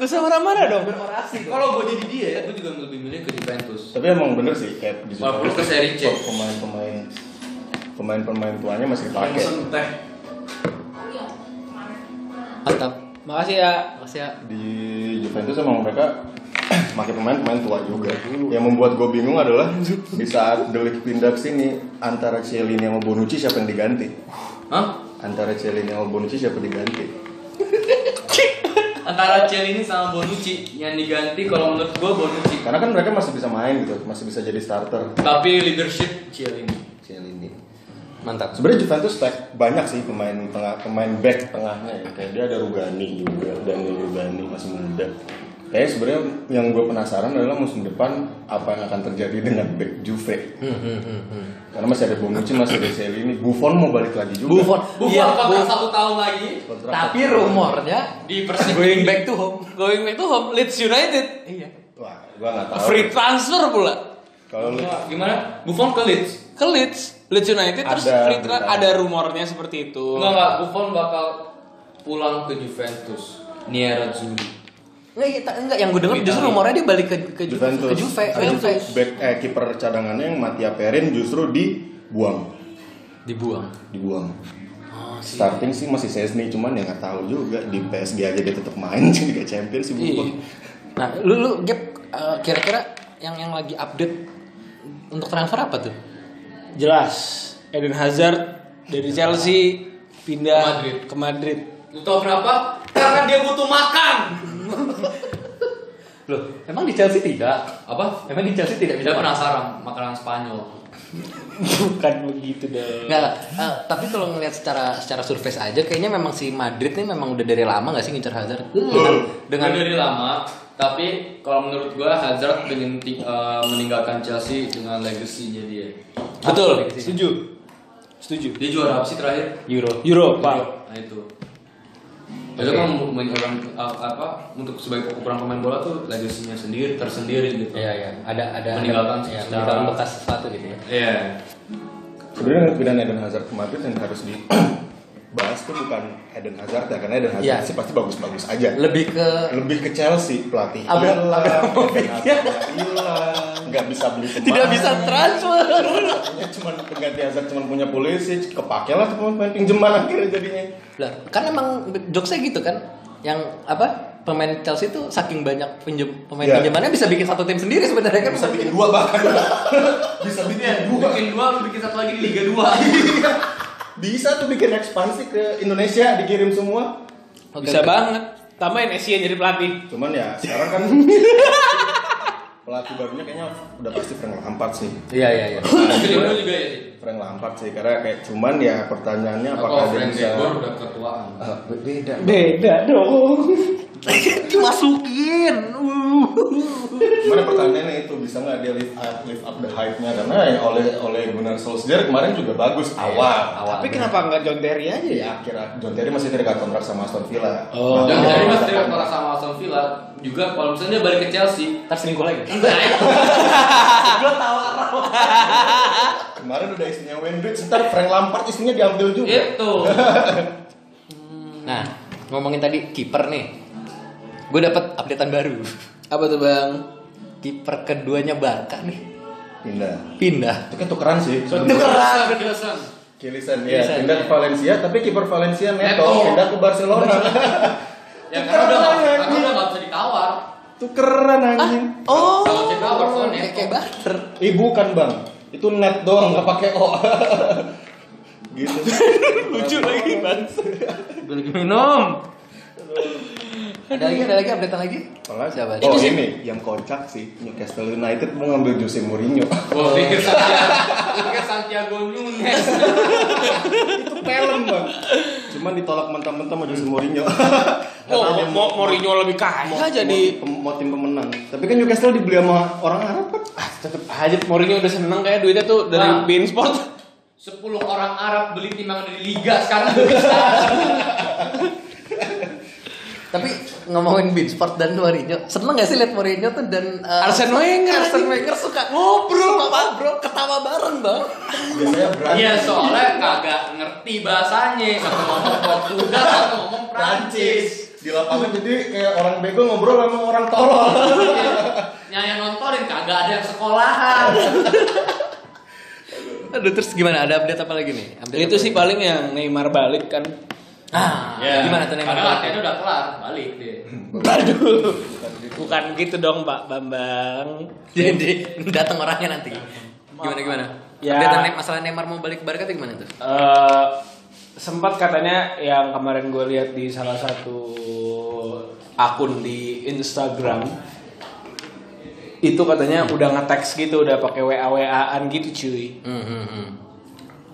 [SPEAKER 4] Gak usah marah-marah dong.
[SPEAKER 2] kalau gue jadi dia ya, gue juga lebih milih ke Juventus.
[SPEAKER 5] Tapi emang bener sih kayak di
[SPEAKER 2] Walaupun ke Serie C.
[SPEAKER 5] Pemain-pemain pemain-pemain tuanya masih dipakai.
[SPEAKER 2] teh.
[SPEAKER 1] Mantap.
[SPEAKER 4] Makasih ya.
[SPEAKER 1] Makasih ya.
[SPEAKER 5] Di Juventus emang mereka pakai pemain-pemain tua juga. Yang membuat gue bingung adalah di saat Delik pindah ke sini antara Cielini sama Bonucci siapa yang diganti?
[SPEAKER 2] Hah?
[SPEAKER 5] Antara Cielini sama Bonucci siapa yang diganti?
[SPEAKER 2] Antara Celini sama Bonucci yang diganti kalau menurut gue Bonucci.
[SPEAKER 5] Karena kan mereka masih bisa main gitu, masih bisa jadi starter.
[SPEAKER 2] Tapi leadership Celini.
[SPEAKER 5] Cielini.
[SPEAKER 1] Mantap.
[SPEAKER 5] Sebenarnya Juventus stack banyak sih pemain tengah, pemain back tengahnya ya. Kayak dia ada Rugani juga, Daniel Rugani masih muda. Kayak sebenarnya yang gue penasaran adalah musim depan apa yang akan terjadi dengan back Juve.
[SPEAKER 4] Hmm,
[SPEAKER 5] Karena masih ada Bonucci, masih ada Celini. Buffon mau balik lagi juga.
[SPEAKER 1] Buffon.
[SPEAKER 2] Bukan
[SPEAKER 1] Iya,
[SPEAKER 2] kontrak
[SPEAKER 1] Buffon.
[SPEAKER 2] satu tahun lagi
[SPEAKER 5] Kontrak
[SPEAKER 1] Tapi
[SPEAKER 5] satu tahun.
[SPEAKER 1] rumornya
[SPEAKER 2] di Persib.
[SPEAKER 1] going back to home.
[SPEAKER 4] Going back to home, Leeds United. Iya.
[SPEAKER 5] Wah, gue nggak tahu.
[SPEAKER 4] Free transfer pula.
[SPEAKER 5] Kalau lu
[SPEAKER 2] Gimana? Buffon ke Leeds?
[SPEAKER 4] Ke Leeds, Leeds United terus
[SPEAKER 5] Ada
[SPEAKER 4] free transfer.
[SPEAKER 5] berita.
[SPEAKER 4] Ada rumornya seperti itu.
[SPEAKER 2] Enggak enggak, Buffon bakal pulang ke Juventus. Nerazzurri.
[SPEAKER 1] Enggak, iya, ta- enggak yang gue dengar justru rumornya dia balik ke ke Ju-
[SPEAKER 5] Juventus,
[SPEAKER 1] ke Juve, ke
[SPEAKER 5] Habis
[SPEAKER 1] Juve.
[SPEAKER 5] itu back eh kiper cadangannya yang Mattia Perin justru dibuang,
[SPEAKER 1] Dibuang.
[SPEAKER 5] dibuang.
[SPEAKER 1] Oh,
[SPEAKER 5] Starting sih masih Sesni, cuman ya nggak tahu juga di PSG aja dia tetap main di Liga Champions sih Buffon.
[SPEAKER 1] Nah, lu lu Gap, eh, kira-kira yang yang lagi update untuk transfer apa tuh?
[SPEAKER 4] Jelas. Eden Hazard dari Chelsea pindah
[SPEAKER 2] Ke Madrid.
[SPEAKER 4] Ke Madrid.
[SPEAKER 2] Lu tau berapa? Karena dia butuh makan.
[SPEAKER 1] Loh, emang di Chelsea tidak?
[SPEAKER 2] Apa?
[SPEAKER 1] Emang di Chelsea tidak
[SPEAKER 2] Dia penasaran makanan Spanyol.
[SPEAKER 4] Bukan begitu dong.
[SPEAKER 1] Enggak, lah. Eh, tapi kalau ngelihat secara secara surface aja kayaknya memang si Madrid nih memang udah dari lama gak sih ngincer Hazard?
[SPEAKER 2] Dengan
[SPEAKER 1] Dengan
[SPEAKER 2] dari lama, tapi kalau menurut gua Hazard pengen ti- eh, meninggalkan Chelsea dengan legasinya dia.
[SPEAKER 4] Betul. Setuju. Setuju.
[SPEAKER 2] Dia juara apa sih terakhir?
[SPEAKER 1] Euro.
[SPEAKER 4] Europa.
[SPEAKER 2] Nah itu. Itu kan men- orang eh, apa untuk sebagai ukuran pemain bola tuh legasinya sendiri tersendiri gitu.
[SPEAKER 1] Iya, iya. Ada ada
[SPEAKER 2] Meninggalkan
[SPEAKER 1] ada, ya,
[SPEAKER 2] secara-
[SPEAKER 1] meninggalkan bekas sesuatu gitu ya.
[SPEAKER 2] Iya.
[SPEAKER 5] Sebenarnya pindahan Eden Hazard ke Madrid yang harus dibahas tuh bukan Eden Hazard ya, karena Eden Hazard
[SPEAKER 1] Iya.
[SPEAKER 5] sih pasti bagus-bagus aja.
[SPEAKER 1] Lebih ke
[SPEAKER 5] Lebih ke Chelsea pelatih
[SPEAKER 1] Abra-
[SPEAKER 5] hilang,
[SPEAKER 1] Abramovich.
[SPEAKER 5] Hazard hilang, nggak Oh, iya. bisa beli pemain.
[SPEAKER 1] tidak bisa transfer.
[SPEAKER 5] Ya, cuman pengganti Hazard cuman punya polisi, kepake lah tuh pemain pinjaman akhirnya jadinya.
[SPEAKER 1] Lah, kan emang jokesnya gitu kan. Yang apa? Pemain Chelsea itu saking banyak pinjem pemain
[SPEAKER 5] Iya.
[SPEAKER 1] pinjamannya bisa bikin satu tim sendiri sebenarnya kan
[SPEAKER 5] Bisa bikin dua bahkan. bisa bikin
[SPEAKER 2] Lu
[SPEAKER 5] dua. Iya.
[SPEAKER 2] bikin dua, lu bikin satu lagi di Liga 2.
[SPEAKER 5] Bisa tuh bikin ekspansi ke Indonesia dikirim semua.
[SPEAKER 1] Oke,
[SPEAKER 4] Bisa
[SPEAKER 1] oke.
[SPEAKER 4] banget. Tambahin Messi yang jadi pelatih.
[SPEAKER 5] Cuman ya sekarang kan pelatih barunya kayaknya udah pasti Frank Lampard sih.
[SPEAKER 1] Iya, iya, iya.
[SPEAKER 2] Gregor juga ya sih.
[SPEAKER 5] Frank Lampard sih karena kayak cuman ya pertanyaannya apakah
[SPEAKER 2] Kalau
[SPEAKER 5] dia
[SPEAKER 2] Frank
[SPEAKER 5] bisa
[SPEAKER 2] Gregor udah ketuaan.
[SPEAKER 5] Ah, beda.
[SPEAKER 4] Beda dong.
[SPEAKER 1] Dimasukin.
[SPEAKER 5] Cuman pertanyaannya itu bisa nggak dia lift up, lift up the hype-nya karena ya oleh oleh Gunnar Solskjaer kemarin juga bagus awal.
[SPEAKER 1] Awal.
[SPEAKER 4] Tapi kenapa nggak John Terry aja
[SPEAKER 5] Ya
[SPEAKER 4] ya?
[SPEAKER 5] akhirnya John Terry masih terikat kontrak sama Aston Villa. Nah,
[SPEAKER 4] Oh.
[SPEAKER 5] Makanya
[SPEAKER 2] Dan
[SPEAKER 5] dia
[SPEAKER 2] tadi Mas
[SPEAKER 5] masih
[SPEAKER 2] Dewa
[SPEAKER 5] kontrak.
[SPEAKER 2] kalah sama Aston Villa juga kalau misalnya dia balik ke Chelsea.
[SPEAKER 1] Ntar selingkuh lagi.
[SPEAKER 2] Enggak. ya.
[SPEAKER 5] Kemarin udah istrinya Wayne Bridge, ntar Frank Lampard istrinya diambil juga.
[SPEAKER 2] Itu.
[SPEAKER 1] Nah, ngomongin tadi kiper nih. Gue dapat updatean baru.
[SPEAKER 4] Apa tuh bang?
[SPEAKER 1] Kiper keduanya Barca nih
[SPEAKER 5] Pindah.
[SPEAKER 1] pindah.
[SPEAKER 5] Itu kan tukeran sih.
[SPEAKER 2] Kelesan.
[SPEAKER 5] Kilisan ya,
[SPEAKER 1] Kilisan,
[SPEAKER 5] pindah ke Valencia, tapi kiper Valencia Neto,
[SPEAKER 2] Neto.
[SPEAKER 5] pindah ke Barcelona.
[SPEAKER 2] Ya karena udah
[SPEAKER 5] Tukeran,
[SPEAKER 2] nggak- karena
[SPEAKER 5] anjing.
[SPEAKER 2] udah nggak bisa ditawar.
[SPEAKER 5] Tukeran anjing.
[SPEAKER 1] Oh.
[SPEAKER 2] Kalau kita Barcelona.
[SPEAKER 1] Kayak kayak barter.
[SPEAKER 5] Ih bukan bang, itu net doang nggak pakai o. gitu.
[SPEAKER 4] Lucu lagi bang. Gue lagi minum.
[SPEAKER 1] Ada lagi, ada lagi update lagi?
[SPEAKER 5] Apalagi?
[SPEAKER 1] Siapa?
[SPEAKER 5] Oh
[SPEAKER 1] Ini sih.
[SPEAKER 5] ini yang kocak sih Newcastle United mau ngambil Jose Mourinho.
[SPEAKER 2] Gua pikir Santiago, gua pikir Santiago Nunes.
[SPEAKER 5] Itu film bang. Cuman ditolak mentah-mentah sama Jose Mourinho.
[SPEAKER 4] Mau
[SPEAKER 5] Karena dia
[SPEAKER 4] mau Mourinho lebih
[SPEAKER 5] mau-
[SPEAKER 4] kaya jadi
[SPEAKER 5] mau- mau tim pemenang. Tapi kan Newcastle dibeli sama orang Arab kan.
[SPEAKER 4] tetep aja Mourinho udah seneng kayak duitnya tuh dari
[SPEAKER 2] Nah.
[SPEAKER 4] Bein Sport.
[SPEAKER 2] 10 orang Arab beli tim yang ada di liga sekarang
[SPEAKER 1] Tapi ngomongin Beansport dan Mourinho, seneng gak sih liat Mourinho tuh dan eh,
[SPEAKER 4] Arsene Wenger,
[SPEAKER 1] Arsene
[SPEAKER 4] anjing.
[SPEAKER 1] Wenger Oh, suka ngobrol, suka ngobrol, ketawa bareng bang.
[SPEAKER 5] Biasanya berani.
[SPEAKER 2] Iya soalnya kagak ngerti bahasanya Satu ngomong Portugal, satu ngomong Prancis
[SPEAKER 5] Di lapangan jadi kayak orang bego ngobrol sama orang tolol.
[SPEAKER 2] Yang yang nontonin kagak ada yang sekolahan
[SPEAKER 1] Aduh terus gimana? Ada update apa lagi nih? Update
[SPEAKER 4] Itu
[SPEAKER 1] apa
[SPEAKER 4] sih
[SPEAKER 1] lagi?
[SPEAKER 4] paling yang Neymar balik kan.
[SPEAKER 1] Ah,
[SPEAKER 2] Iya. Ya.
[SPEAKER 1] gimana tuh Neymar?
[SPEAKER 2] Padahal latihannya udah kelar, balik deh
[SPEAKER 4] Aduh. Bukan gitu dong Pak Bambang.
[SPEAKER 1] Jadi datang orangnya nanti. Gimana gimana?
[SPEAKER 4] Ya.
[SPEAKER 1] Update tentang masalah Neymar mau balik ke Barca tuh gimana tuh?
[SPEAKER 4] eh sempat katanya yang kemarin gue lihat di salah satu akun di Instagram itu katanya udah nge-text gitu udah pakai wa waan gitu cuy
[SPEAKER 1] Hmm, hmm, hmm.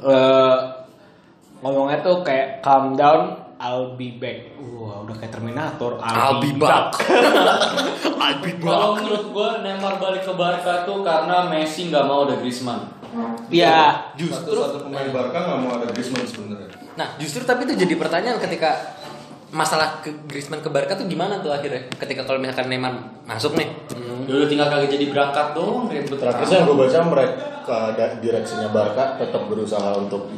[SPEAKER 4] Eh, ngomongnya tuh kayak calm down I'll be back wah udah kayak Terminator
[SPEAKER 1] I'll be back. I'll be back.
[SPEAKER 2] Kalau menurut gue Neymar balik ke Barca tuh karena Messi nggak mau ada Griezmann
[SPEAKER 4] ya
[SPEAKER 5] Justru satu pemain Barca nggak mau ada Griezmann sebenarnya.
[SPEAKER 1] Nah, justru tapi itu jadi pertanyaan ketika masalah ke Griezmann ke Barca tuh gimana tuh akhirnya? Ketika kalau misalkan Neymar masuk nih.
[SPEAKER 2] Ya udah tinggal kagak jadi berangkat doang ribet
[SPEAKER 5] Terakhir sih yang gue baca mereka ada eh, direksinya Barca tetap berusaha untuk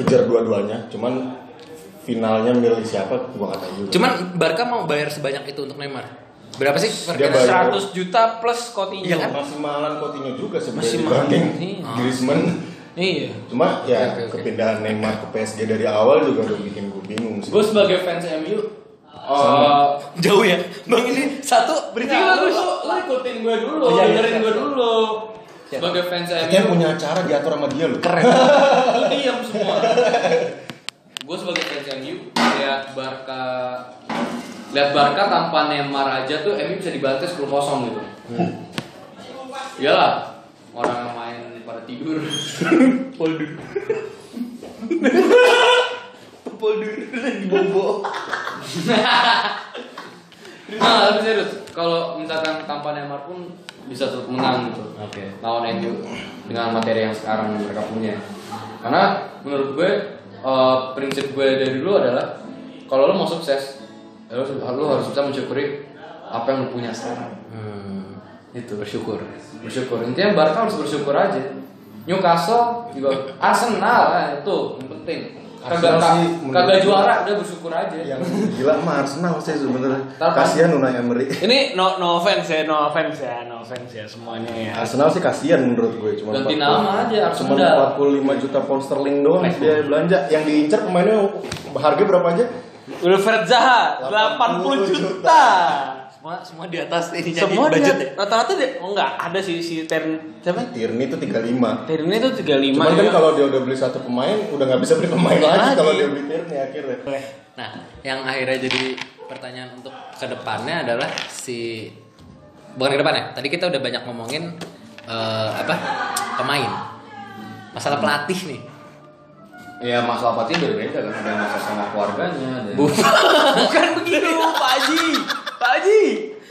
[SPEAKER 5] kejar dua-duanya, cuman finalnya milih siapa gue nggak tahu juga.
[SPEAKER 1] Cuman Barca mau bayar sebanyak itu untuk Neymar. Berapa sih?
[SPEAKER 5] Dia
[SPEAKER 1] perkiraan?
[SPEAKER 5] bayar.
[SPEAKER 4] 100 juta plus Coutinho
[SPEAKER 1] Iya kan?
[SPEAKER 5] masih mahalan Coutinho juga
[SPEAKER 4] Masih
[SPEAKER 5] sebenarnya
[SPEAKER 4] mahalan,
[SPEAKER 5] dibanding
[SPEAKER 4] iya.
[SPEAKER 5] Griezmann.
[SPEAKER 4] iya
[SPEAKER 5] Cuma
[SPEAKER 1] Oke,
[SPEAKER 5] ya
[SPEAKER 1] oke, oke.
[SPEAKER 5] kepindahan Neymar ke PSG dari awal juga udah bikin gue bingung sih.
[SPEAKER 2] Gue sebagai fans MU eh,
[SPEAKER 1] Jauh ya. Bang ini satu
[SPEAKER 2] Berarti
[SPEAKER 1] berita bagus.
[SPEAKER 2] lu, Nah, lu, lu ikutin gue dulu,
[SPEAKER 1] Oh, iya, iya.
[SPEAKER 2] dengerin gue dulu.
[SPEAKER 1] Siap.
[SPEAKER 2] Sebagai fans
[SPEAKER 5] Dia
[SPEAKER 2] MU,
[SPEAKER 5] punya acara diatur sama dia loh.
[SPEAKER 1] Keren.
[SPEAKER 2] lu diam semua. gue sebagai fans MU, lihat Barca, lihat Barca tanpa Neymar aja tuh MU bisa dibantai 10 kosong gitu. Iyalah, orang yang main pada tidur. Poldur.
[SPEAKER 1] Poldur bobo.
[SPEAKER 2] Nah, tapi serius, kalau misalkan tanpa Neymar pun bisa tetap menang gitu.
[SPEAKER 1] Oke.
[SPEAKER 2] lawan MU dengan materi yang sekarang mereka punya. Karena menurut gue eh, prinsip gue dari dulu adalah kalau lo mau sukses, ya lo, lo harus bisa mensyukuri apa yang lo punya sekarang.
[SPEAKER 1] Hmm.
[SPEAKER 2] Itu bersyukur. Bersyukur. Intinya Barca harus bersyukur aja. Newcastle juga Arsenal lah, itu yang penting. Kagak
[SPEAKER 5] Arsenal sih menurut
[SPEAKER 2] kagak
[SPEAKER 5] gue-
[SPEAKER 2] juara udah bersyukur aja.
[SPEAKER 5] Yang gila mah Arsenal sih sebenarnya.
[SPEAKER 2] Tarpan.
[SPEAKER 5] Kasihan Unai Emery.
[SPEAKER 4] ini no no offense ya no offense ya no offense ya semuanya ya
[SPEAKER 5] Arsenal sih kasihan menurut gue cuma
[SPEAKER 2] Ganti
[SPEAKER 5] 40
[SPEAKER 2] nama aja,
[SPEAKER 5] cuma
[SPEAKER 2] Arsenal.
[SPEAKER 5] 45 juta pound sterling doang dia belanja yang diincar pemainnya harga berapa aja
[SPEAKER 4] Wilfred Zaha 80
[SPEAKER 5] 80
[SPEAKER 4] juta.
[SPEAKER 1] Semua semua di atas ini
[SPEAKER 4] Semua dia
[SPEAKER 1] budget ya.
[SPEAKER 4] rata-rata dia oh enggak ada si si Tern siapa?
[SPEAKER 5] Eh, Tierney itu 35
[SPEAKER 4] Tern itu 35.
[SPEAKER 5] cuman kan
[SPEAKER 4] ya.
[SPEAKER 5] kalau dia udah beli satu pemain udah nggak bisa beli pemain lagi
[SPEAKER 4] Lagi.
[SPEAKER 5] kalau dia beli Tierney akhirnya
[SPEAKER 2] Iya,
[SPEAKER 1] Nah, yang akhirnya jadi pertanyaan untuk kedepannya adalah si bukan kedepannya. Tadi kita udah banyak ngomongin eh, apa pemain, masalah pelatih nih.
[SPEAKER 2] Ya masalah pati berbeda kan ada masalah sama keluarganya. Ada.
[SPEAKER 4] bukan begitu Pak Haji. Pak Haji.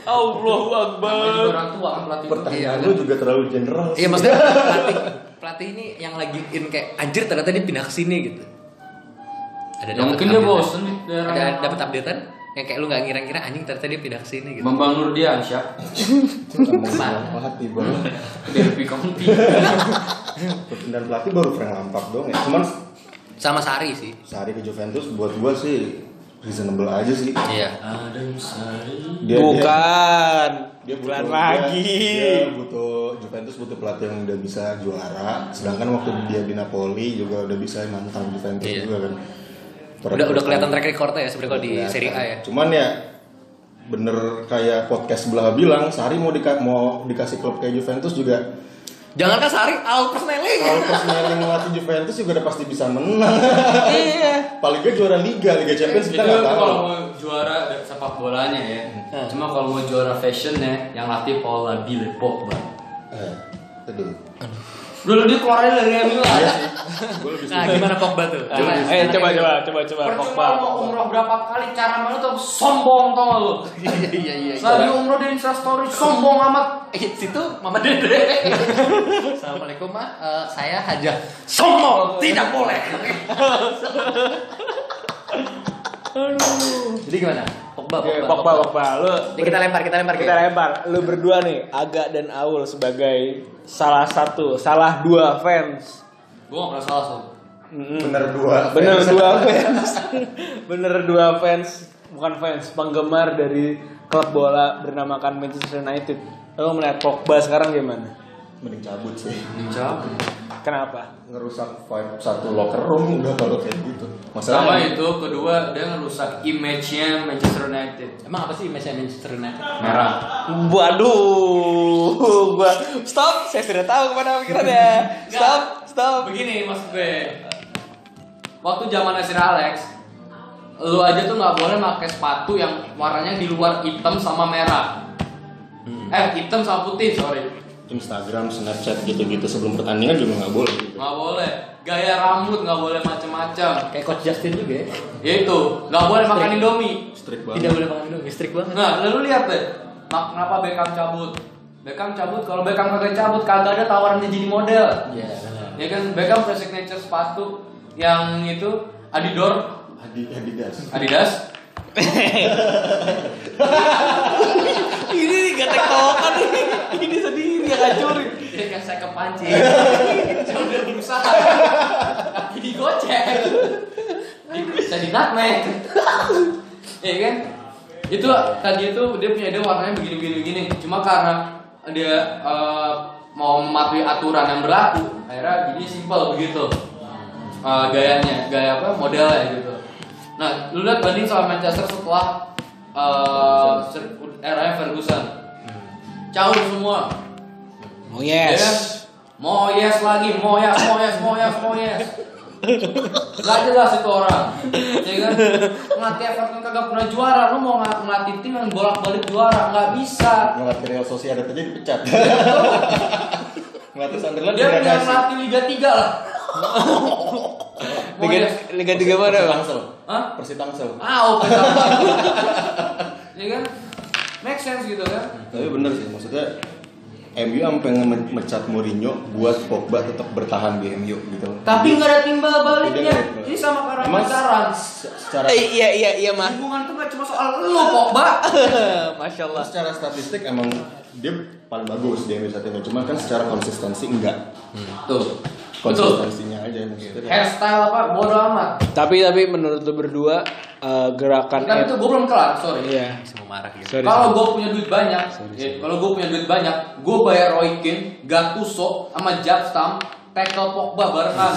[SPEAKER 4] Allahu
[SPEAKER 2] Namanya
[SPEAKER 4] Akbar.
[SPEAKER 2] juga orang tua kan pelatih.
[SPEAKER 5] pertanyaan lu juga terlalu general sih.
[SPEAKER 1] Iya maksudnya pelatih pelatih ini yang lagi in kayak anjir ternyata dia pindah ke sini gitu. Ada
[SPEAKER 2] Ya
[SPEAKER 1] dapet
[SPEAKER 2] mungkin dia
[SPEAKER 1] updatean?
[SPEAKER 2] bosen di daerah.
[SPEAKER 1] Ada dapat updatean yang kayak lu nggak ngira-ngira anjing ternyata dia pindah ke sini gitu.
[SPEAKER 2] Bambang Nurdiansyah
[SPEAKER 5] ngomong buah hati banget
[SPEAKER 2] Derby County
[SPEAKER 5] perpindahan pelatih baru Frank Lampard doang ya cuman
[SPEAKER 1] Sama Sari sih.
[SPEAKER 5] sehari ke Juventus buat gua sih reasonable aja sih
[SPEAKER 1] Iya.
[SPEAKER 5] dia, dia-
[SPEAKER 4] bukan.
[SPEAKER 5] dia butuh
[SPEAKER 4] bulan
[SPEAKER 5] dia-
[SPEAKER 4] lagi.
[SPEAKER 5] dia butuh Juventus butuh pelatih yang udah bisa juara sedangkan waktu dia di Napoli juga udah bisa nantang Juventus
[SPEAKER 1] Iya.
[SPEAKER 5] juga kan
[SPEAKER 1] Udah udah kelihatan track recordnya ya sebenarnya kalau di
[SPEAKER 2] Iya.
[SPEAKER 5] Kelihatan.
[SPEAKER 1] Serie A ya.
[SPEAKER 5] cuman ya bener kayak podcast sebelah bilang Sari mau dika mau dikasih klub kayak Juventus juga
[SPEAKER 1] Jangan kan Sari, Alpers Neling.
[SPEAKER 5] Kalau Persneling ngelatih Juventus juga udah pasti bisa menang.
[SPEAKER 1] Iya.
[SPEAKER 5] Paling gak juara Liga, Liga Champions
[SPEAKER 2] Itu
[SPEAKER 5] kita nggak tahu.
[SPEAKER 2] kalau mau juara dari sepak bolanya ya.
[SPEAKER 1] Hmm.
[SPEAKER 2] Cuma kalau mau juara fashionnya yang latih Paul Labile Pogba.
[SPEAKER 5] Eh, aduh.
[SPEAKER 2] Dulu dia keluarin dari MU lah
[SPEAKER 1] Iya
[SPEAKER 2] ya.
[SPEAKER 1] Nah, gimana Pogba tuh? Coba.
[SPEAKER 4] Eh coba coba coba coba Pogba.
[SPEAKER 2] Percuma mau umroh berapa kali cara mana tuh sombong tau gak lu.
[SPEAKER 1] Iya, iya, iya.
[SPEAKER 2] Lagi umroh di Instastory sombong amat.
[SPEAKER 1] Eh, situ Mama Dede. Assalamualaikum, Ma. Eh, saya Haja. Sombong, tidak boleh. Jadi gimana? Pogba,
[SPEAKER 4] Oke, Pogba Pogba lu
[SPEAKER 1] Ini kita lempar, kita lempar.
[SPEAKER 4] kita lempar lu berdua nih Aga dan Aul sebagai salah satu salah dua fans
[SPEAKER 2] Gue gak pernah salah sob.
[SPEAKER 4] Mm-mm.
[SPEAKER 5] Bener dua.
[SPEAKER 4] bener dua fans bener dua fans bukan fans penggemar dari klub bola bernamakan Manchester United lu melihat Pogba sekarang gimana
[SPEAKER 5] Mending cabut sih.
[SPEAKER 2] Dijawab.
[SPEAKER 4] kenapa
[SPEAKER 5] Ngerusak vibe satu locker room udah kalau kayak gitu.
[SPEAKER 2] Sama ya?
[SPEAKER 1] ya?
[SPEAKER 5] Masalahnya
[SPEAKER 2] itu kedua dia ngerusak image-nya Manchester United.
[SPEAKER 1] Emang apa sih image Manchester United?
[SPEAKER 2] Merah.
[SPEAKER 4] waduh gua stop saya sudah tahu kemana pikirannya stop stop
[SPEAKER 2] Begini maksud gue. Waktu zaman Sir Alex, lu aja tuh nggak boleh pakai sepatu yang warnanya di luar hitam sama merah. Eh, hitam sama putih, sorry.
[SPEAKER 5] Instagram, Snapchat gitu-gitu sebelum pertandingan juga nggak boleh.
[SPEAKER 2] Nggak boleh. Gaya rambut nggak boleh macem-macem.
[SPEAKER 1] Kayak Coach Justin juga ya.
[SPEAKER 2] Yaitu, nggak boleh makan Indomie.
[SPEAKER 5] Strict
[SPEAKER 1] Tidak
[SPEAKER 5] banget.
[SPEAKER 1] boleh makan minum, listrik banget.
[SPEAKER 2] Nah, lalu lihat deh, mak- kenapa Beckham cabut? Beckham cabut, kalau Beckham kagak cabut, kagak ada tawaran dia jadi model.
[SPEAKER 1] Iya.
[SPEAKER 2] Ya kan, Beckham punya signature sepatu yang itu Adidor,
[SPEAKER 5] Adi Adidas.
[SPEAKER 2] Adidas.
[SPEAKER 4] ini nih gak tektokan nih ini sendiri yang hancurin
[SPEAKER 2] Dia kayak saya kepancing. Saya udah berusaha. Kaki digocek. Bisa di nutmeg. Iya kan? Itu tadi itu dia punya ide warnanya begini-begini begini. Cuma karena dia eh, mau mematuhi aturan yang berlaku, akhirnya jadi simpel begitu. Eh, gayanya, gaya apa? Modelnya gitu. Nah, lu lihat banding sama Manchester setelah eh era Ferguson. Caur semua.
[SPEAKER 4] oh
[SPEAKER 2] Mau yes Ya. lagi, mau yes, mau yes, mau yes, mau yes. Gak jelas itu orang. Ya kan? Ngelatih Everton kan kagak pernah juara, lu mau ng- ngelatih tim yang bolak-balik juara, nggak bisa.
[SPEAKER 5] Ngelatih Real Sociedad aja dipecat. Ngelatih Sunderland
[SPEAKER 2] Dia punya
[SPEAKER 5] degradasi.
[SPEAKER 2] ngelatih Liga 3 lah. Mau
[SPEAKER 4] Iya. Liga,
[SPEAKER 2] yes.
[SPEAKER 4] Liga
[SPEAKER 5] Persib
[SPEAKER 4] 3 mana bang?
[SPEAKER 5] Tangsel.
[SPEAKER 2] Hah?
[SPEAKER 5] Persib Tangsel.
[SPEAKER 2] Ah, oke. ya kan? Make sense gitu kan?
[SPEAKER 5] Tapi bener sih maksudnya MU sampai memecat Mourinho buat Pogba tetap bertahan di MU gitu.
[SPEAKER 2] Tapi nggak ada timbal baliknya.
[SPEAKER 5] Tidak, tidak.
[SPEAKER 2] Ini sama karena
[SPEAKER 5] Emang-
[SPEAKER 2] pacaran.
[SPEAKER 5] Secara
[SPEAKER 4] Eh, iya iya iya mah.
[SPEAKER 2] Hubungan tuh gak cuma soal lu, Pogba.
[SPEAKER 4] Masya Allah.
[SPEAKER 5] secara statistik emang dia paling bagus di MU saat ini. Cuma kan secara konsistensi enggak.
[SPEAKER 2] Tuh. Betul.
[SPEAKER 5] Konsistensinya aja maksudnya.
[SPEAKER 2] Iya. hairstyle apa bodo amat
[SPEAKER 4] Tapi tapi menurut lu berdua eh, gerakan
[SPEAKER 2] tapi itu gue belum kelar sorry
[SPEAKER 4] Iya.
[SPEAKER 1] Semua marah gitu.
[SPEAKER 4] Sorry.
[SPEAKER 2] kalau gue punya duit banyak ya, kalau gue punya duit banyak gue bayar Roy Keane Gattuso sama Jabstam tackle Pogba barengan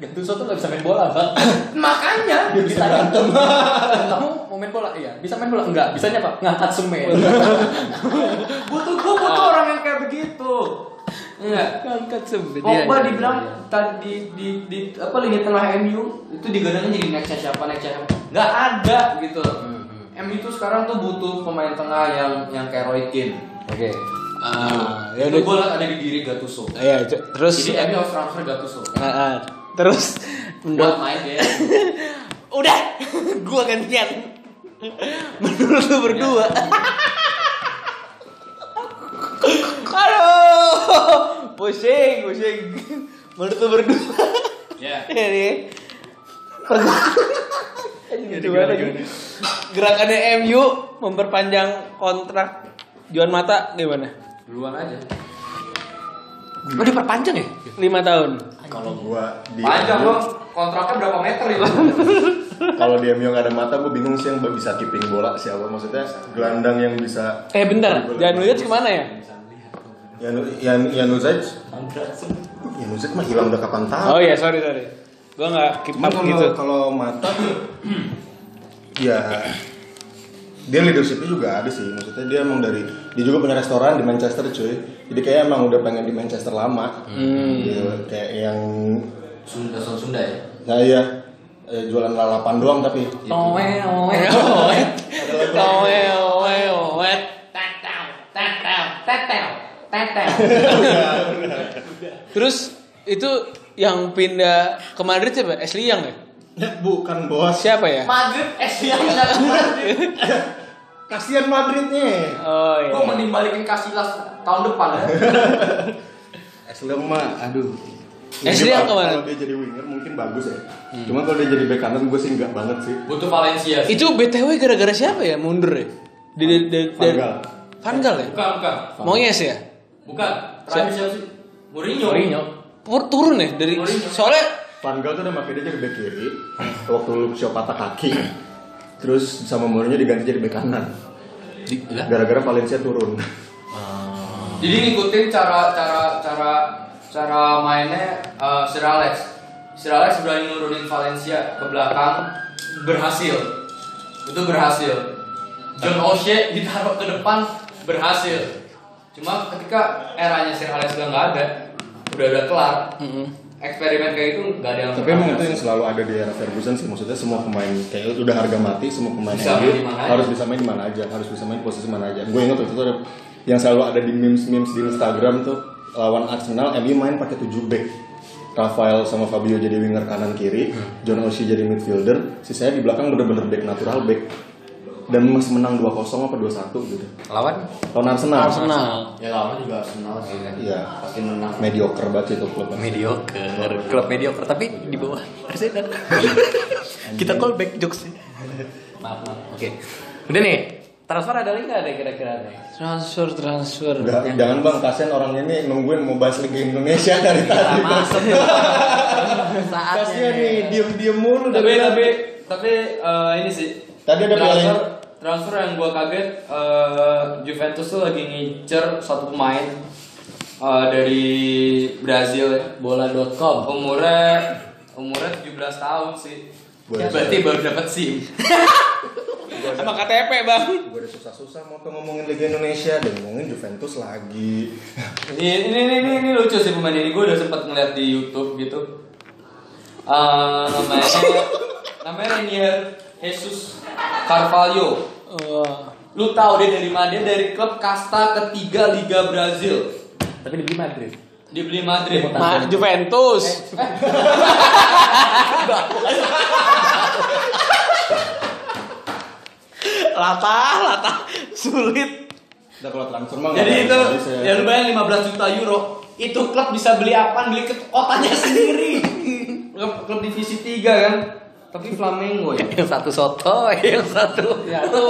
[SPEAKER 1] Gattuso tuh gak bisa main bola, Bang.
[SPEAKER 2] makanya
[SPEAKER 1] Dia
[SPEAKER 4] Iya,
[SPEAKER 1] bisa berantem. Kamu mau main bola? Iya. Bisa main bola? Enggak. Bisanya apa? Ngangkat semen.
[SPEAKER 2] butuh gue butuh
[SPEAKER 4] Ah.
[SPEAKER 2] orang yang kayak begitu Iya.
[SPEAKER 4] Angkat sempit.
[SPEAKER 2] Pogba
[SPEAKER 1] iya,
[SPEAKER 4] iya.
[SPEAKER 2] dibilang tadi di, di, di- apa lini tengah MU itu digadangnya jadi nextnya siapa nextnya siapa nggak ada gitu
[SPEAKER 4] Hmm.
[SPEAKER 2] MU itu sekarang tuh butuh pemain tengah yang yang kayak Roy Keane
[SPEAKER 1] Oke.
[SPEAKER 4] Ah, ya
[SPEAKER 2] itu gue
[SPEAKER 4] udah.
[SPEAKER 2] ada di diri Gattuso
[SPEAKER 4] Iya, c- terus
[SPEAKER 2] Jadi Emi harus transfer Gattuso.
[SPEAKER 4] Ah, ah. terus
[SPEAKER 2] Buat
[SPEAKER 4] menurut
[SPEAKER 2] main dia.
[SPEAKER 4] udah gua gantian. menurut lu berdua. Aduh, pusing, pusing. Menurut lu berdua. Iya
[SPEAKER 2] Ya.
[SPEAKER 4] ini pergerakan gerakannya MU memperpanjang kontrak Juan Mata gimana?
[SPEAKER 2] Duluan aja.
[SPEAKER 1] Oh, diperpanjang ya?
[SPEAKER 4] 5 tahun.
[SPEAKER 5] Kalau gua di
[SPEAKER 2] Panjang bang. Kontraknya berapa meter itu?
[SPEAKER 5] kalau di MU nggak ada mata gua bingung sih yang bisa keeping bola siapa maksudnya gelandang yang bisa
[SPEAKER 4] Eh bentar, jangan lihat kemana ya?
[SPEAKER 5] Yanu Yan Yanuzic Yanuzic Ya, mah hilang udah kapan tahu.
[SPEAKER 4] Oh gitu? iya, sorry sorry. Gua nggak keep
[SPEAKER 5] Cuman
[SPEAKER 4] up
[SPEAKER 5] kalau
[SPEAKER 4] gitu.
[SPEAKER 5] kalau mata ya dia leadershipnya juga ada sih maksudnya dia emang dari dia juga punya restoran di Manchester cuy jadi kayak emang udah pengen di Manchester lama Dia kayak yang
[SPEAKER 2] Sunda son Sunda ya.
[SPEAKER 5] nah iya eh, jualan lalapan doang tapi
[SPEAKER 2] Noel.
[SPEAKER 4] Terus itu yang pindah ke Madrid siapa? Ashley Young ya?
[SPEAKER 5] bukan bos
[SPEAKER 4] Siapa ya?
[SPEAKER 2] Madrid es yang nggak Madrid.
[SPEAKER 5] kasihan Madridnya
[SPEAKER 4] Oh iya.
[SPEAKER 2] Gue mending balikin Casillas tahun depan ya.
[SPEAKER 5] Aslam mah aduh
[SPEAKER 4] Ashley yang
[SPEAKER 5] Mungkin
[SPEAKER 4] kemana?
[SPEAKER 5] Kalau dia jadi winger mungkin bagus ya. Cuma kalau dia jadi back kanan gue sih enggak banget sih.
[SPEAKER 2] Butuh Valencia. sih.
[SPEAKER 4] Itu BTW gara-gara siapa ya mundur ya? Di di di
[SPEAKER 5] Van Gaal.
[SPEAKER 4] Van Gaal ya?
[SPEAKER 2] Bukan bukan
[SPEAKER 4] Moyes ya?
[SPEAKER 2] bukan. Terakhir siapa sih? Mourinho.
[SPEAKER 4] Pur- turun ya dari
[SPEAKER 2] Mourinho.
[SPEAKER 4] soalnya
[SPEAKER 5] Van Gaal tuh udah pakai dia jadi back kiri. Waktu Lucio patah kaki. Terus sama Mourinho diganti jadi back kanan. Gara-gara Valencia turun.
[SPEAKER 2] Jadi ngikutin cara cara cara cara mainnya eh, Sir Alex. Sir Alex berani nurunin Valencia ke belakang berhasil. Itu berhasil. John O'Shea ditaruh ke depan berhasil. Cuma ketika eranya Sir Alex udah nggak ada, udah udah kelar. Eksperimen kayak itu nggak ada yang
[SPEAKER 5] Tapi emang itu yang selalu ada di era Ferguson sih. Maksudnya semua pemain kayak gitu, udah harga mati, semua pemain
[SPEAKER 2] Bisa main
[SPEAKER 5] MU
[SPEAKER 2] di mana aja.
[SPEAKER 5] harus bisa main di mana aja, harus bisa main posisi mana aja. Gue ingat waktu itu ada yang selalu ada di memes-memes di Instagram tuh lawan Arsenal, MU main pakai 7 back. Rafael sama Fabio jadi winger kanan kiri,
[SPEAKER 2] Hmm.
[SPEAKER 5] John Oshie jadi midfielder, sisanya di belakang bener-bener back natural back. Dan masih menang 2-0 apa 2-1 gitu.
[SPEAKER 1] Lawan
[SPEAKER 5] Lawan Arsenal.
[SPEAKER 1] Nah.
[SPEAKER 4] Arsenal.
[SPEAKER 6] Ya lawan juga Arsenal sih kan.
[SPEAKER 5] Iya,
[SPEAKER 6] Pasti menang.
[SPEAKER 5] mediocre banget itu klub.
[SPEAKER 1] mediocre, klub mediocre tapi di bawah Arsenal. Kita call back jokes. maaf, maaf. Oke. Udah nih. Transfer ada lagi nggak ada kira-kira nih?
[SPEAKER 4] transfer transfer.
[SPEAKER 5] Udah, jangan bang, kasihan orang ini nungguin mau bahas Liga Indonesia dari tadi. Bang.
[SPEAKER 1] Masuk. Saatnya.
[SPEAKER 5] Kasihan nih, diem-diem mulu
[SPEAKER 2] tapi
[SPEAKER 5] dari
[SPEAKER 2] tapi
[SPEAKER 5] tadi.
[SPEAKER 2] tapi eh, ini sih
[SPEAKER 5] Tadi ada
[SPEAKER 2] transfer
[SPEAKER 5] piala-
[SPEAKER 2] transfer yang gua kaget eh, Juventus tuh lagi ngincer satu pemain eh, dari Brazil ya.
[SPEAKER 1] bola.com.
[SPEAKER 2] umurnya umurnya 17 tahun sih
[SPEAKER 5] Boleh.
[SPEAKER 2] berarti baru dapat SIM
[SPEAKER 4] Sama KTP bang.
[SPEAKER 5] Gue udah susah-susah mau tuh ngomongin Liga Indonesia dan ngomongin Juventus lagi.
[SPEAKER 2] ini, ini, ini, ini, ini lucu sih pemain ini gue udah sempat ngeliat di YouTube gitu Eh, namanya namanya Renier Jesus Carvalho
[SPEAKER 4] Oh.
[SPEAKER 2] Lu tahu dia dari mana? Dia dari klub kasta ketiga Liga Brazil.
[SPEAKER 1] Tapi dibeli Madrid.
[SPEAKER 2] Dibeli Madrid.
[SPEAKER 4] Ma Juventus. Eh, latah, latah, sulit.
[SPEAKER 5] Udah kalau transfer mah nggak
[SPEAKER 2] Jadi itu
[SPEAKER 5] bisa.
[SPEAKER 2] ya lu bayangin 15 juta euro. Itu klub bisa beli apa? Beli ke kotanya sendiri. klub, klub divisi 3 kan. Tapi Flamengo ya.
[SPEAKER 1] Yang satu soto, yang satu.
[SPEAKER 2] Ya itu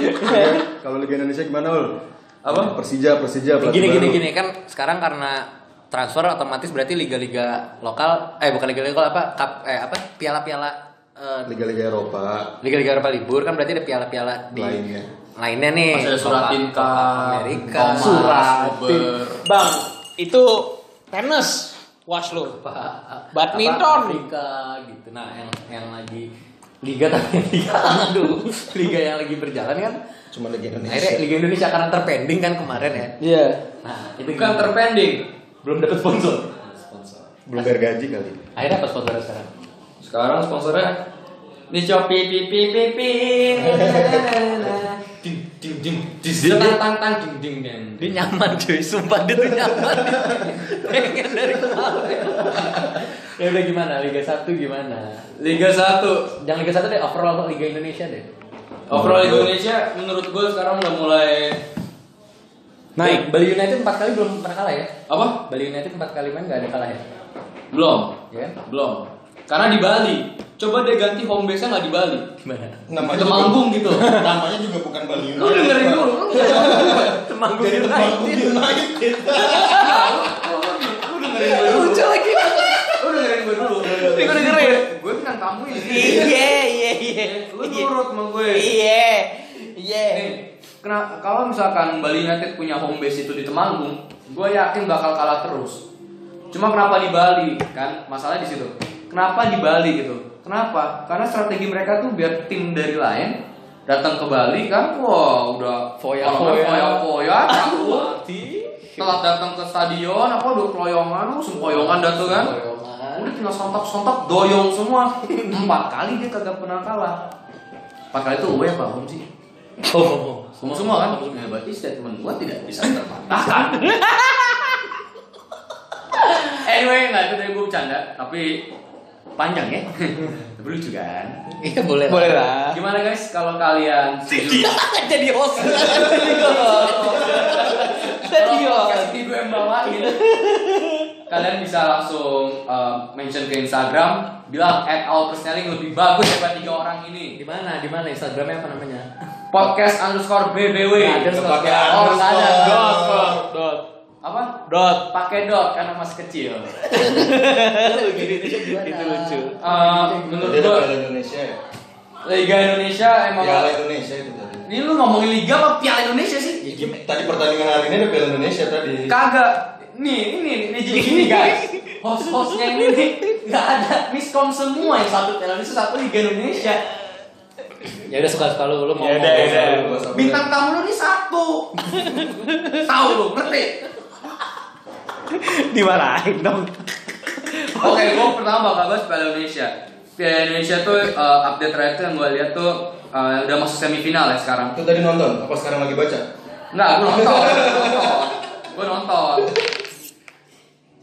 [SPEAKER 5] Iya. Kalau Liga Indonesia gimana ul?
[SPEAKER 2] Iya. Apa?
[SPEAKER 5] Persija, Persija. pelatih
[SPEAKER 1] gini gini
[SPEAKER 5] baru.
[SPEAKER 1] gini kan sekarang karena transfer otomatis berarti liga-liga lokal eh bukan liga-liga lokal apa cup, eh apa piala-piala eh,
[SPEAKER 5] Liga-Liga Eropa
[SPEAKER 1] liga-liga Eropa libur kan berarti ada piala-piala di
[SPEAKER 5] lainnya.
[SPEAKER 1] lainnya nih
[SPEAKER 2] Masih ada Suratinka,
[SPEAKER 1] Eh, Copa Amerika
[SPEAKER 2] Thomas,
[SPEAKER 1] Suratin
[SPEAKER 2] Uber.
[SPEAKER 4] Bang, itu tenis. Watch lu. Badminton.
[SPEAKER 1] apa, Afrika gitu nah yang yang lagi liga tapi liga aduh liga yang lagi berjalan kan
[SPEAKER 5] Cuma Liga
[SPEAKER 1] akhirnya
[SPEAKER 5] Indonesia.
[SPEAKER 1] liga Indonesia karena terpending kan kemarin ya
[SPEAKER 4] Iya.
[SPEAKER 1] nah itu
[SPEAKER 2] bukan
[SPEAKER 1] gimana?
[SPEAKER 2] terpending.
[SPEAKER 1] belum dapat sponsor
[SPEAKER 5] Belum bayar gaji kali.
[SPEAKER 1] akhirnya apa sponsor sekarang
[SPEAKER 2] Sekarang sponsornya di Shopee pi pi pi pi. Ding ding ding. Tang tang tang ding ding ding.
[SPEAKER 1] Dia nyaman cuy, sumpah dia tuh nyaman Pengen dari kemarin Ya udah gimana, Liga 1 gimana?
[SPEAKER 2] Liga 1
[SPEAKER 1] Jangan Liga 1 deh, overall Liga Indonesia deh
[SPEAKER 2] Overall Indonesia menurut gue sekarang udah mulai
[SPEAKER 4] Naik.
[SPEAKER 1] Bali United 4 kali belum pernah kalah ya?
[SPEAKER 2] apa?
[SPEAKER 1] Bali United 4 kali main gak ada kalah ya?
[SPEAKER 2] Belum,
[SPEAKER 1] Ya kan?
[SPEAKER 2] belum. Karena di Bali. Coba dia ganti home base-nya nggak di Bali.
[SPEAKER 1] Gimana?
[SPEAKER 5] Namanya
[SPEAKER 2] Itu
[SPEAKER 5] juga-
[SPEAKER 2] manggung gitu.
[SPEAKER 5] Namanya juga bukan Bali
[SPEAKER 2] Lu dengerin dulu. lu dengerin
[SPEAKER 1] Temanggung
[SPEAKER 5] Jadi
[SPEAKER 1] United
[SPEAKER 5] Temanggung United.
[SPEAKER 2] gue dulu.
[SPEAKER 1] Lucu lagi
[SPEAKER 2] Lu dengerin gue dulu.
[SPEAKER 4] Ini gue dengerin.
[SPEAKER 2] Gue bilang tamu ini.
[SPEAKER 4] Iya, iya, iya.
[SPEAKER 2] Lu nurut sama gue.
[SPEAKER 4] Iya. Iya.
[SPEAKER 2] Nih, kena- kalau misalkan Bali United punya home base itu di Temanggung, gue yakin bakal kalah terus. Cuma kenapa di Bali kan? Masalahnya di situ. Kenapa di Bali gitu? Kenapa? Karena strategi mereka tuh biar tim dari lain datang ke Bali kan wah udah foya-foya foya-foya canggung. Ya telat datang ke stadion apa udah keloyongan lu sempoyongan dah tuh kan udah tinggal sontak-sontak doyong semua empat kali dia kagak pernah kalah empat kali itu away apa home sih
[SPEAKER 1] Oh.
[SPEAKER 2] semua semua kan ya, berarti statement gua tidak bisa terpatahkan anyway nggak itu dari gua bercanda tapi panjang ya tapi lucu kan
[SPEAKER 1] Iya boleh.
[SPEAKER 4] Boleh lah.
[SPEAKER 2] gimana guys kalau kalian setuju
[SPEAKER 1] Jadi host.
[SPEAKER 2] Kalau podcast ini gue yang bawain ya. Kalian bisa langsung eh, mention ke Instagram Bilang at all personaling lebih bagus daripada tiga orang ini
[SPEAKER 1] Di mana? Di mana Instagramnya apa namanya?
[SPEAKER 2] Podcast underscore BBW
[SPEAKER 1] Nggak ada
[SPEAKER 2] Pakai
[SPEAKER 1] underscore.
[SPEAKER 2] all, Oh, nggak ada.
[SPEAKER 4] Dot, dot, dot,
[SPEAKER 2] Apa?
[SPEAKER 4] dot.
[SPEAKER 2] Pakai dot karena masih kecil
[SPEAKER 4] Itu lucu.
[SPEAKER 2] Eh, Menurut
[SPEAKER 5] Dia
[SPEAKER 2] gue
[SPEAKER 5] dari Indonesia ya?
[SPEAKER 2] Liga Indonesia emang
[SPEAKER 5] Piala Indonesia itu tadi.
[SPEAKER 2] Ini lu ngomongin Liga apa Piala Indonesia sih?
[SPEAKER 5] Ya, gim- Tadi pertandingan hari ini ada Piala Indonesia tadi.
[SPEAKER 2] Kagak. Nih, ini ini jadi gini guys. Host-hostnya ini nih nggak ada miskom semua yang satu Piala Indonesia satu Liga Indonesia.
[SPEAKER 1] Ya udah suka suka lu, lu mau.
[SPEAKER 4] Yaudah,
[SPEAKER 1] ngomong.
[SPEAKER 4] yaudah.
[SPEAKER 2] Bintang tamu lu nih satu. Tahu lu, ngerti?
[SPEAKER 4] Dimarahin dong.
[SPEAKER 2] Oke, gua pertama bakal bahas Piala Indonesia. Piala Indonesia tuh eh, update terakhir tuh yang gua lihat tuh eh, udah masuk semifinal ya sekarang.
[SPEAKER 5] Itu tadi nonton, apa sekarang lagi baca?
[SPEAKER 2] Enggak, gue nonton. gue nonton.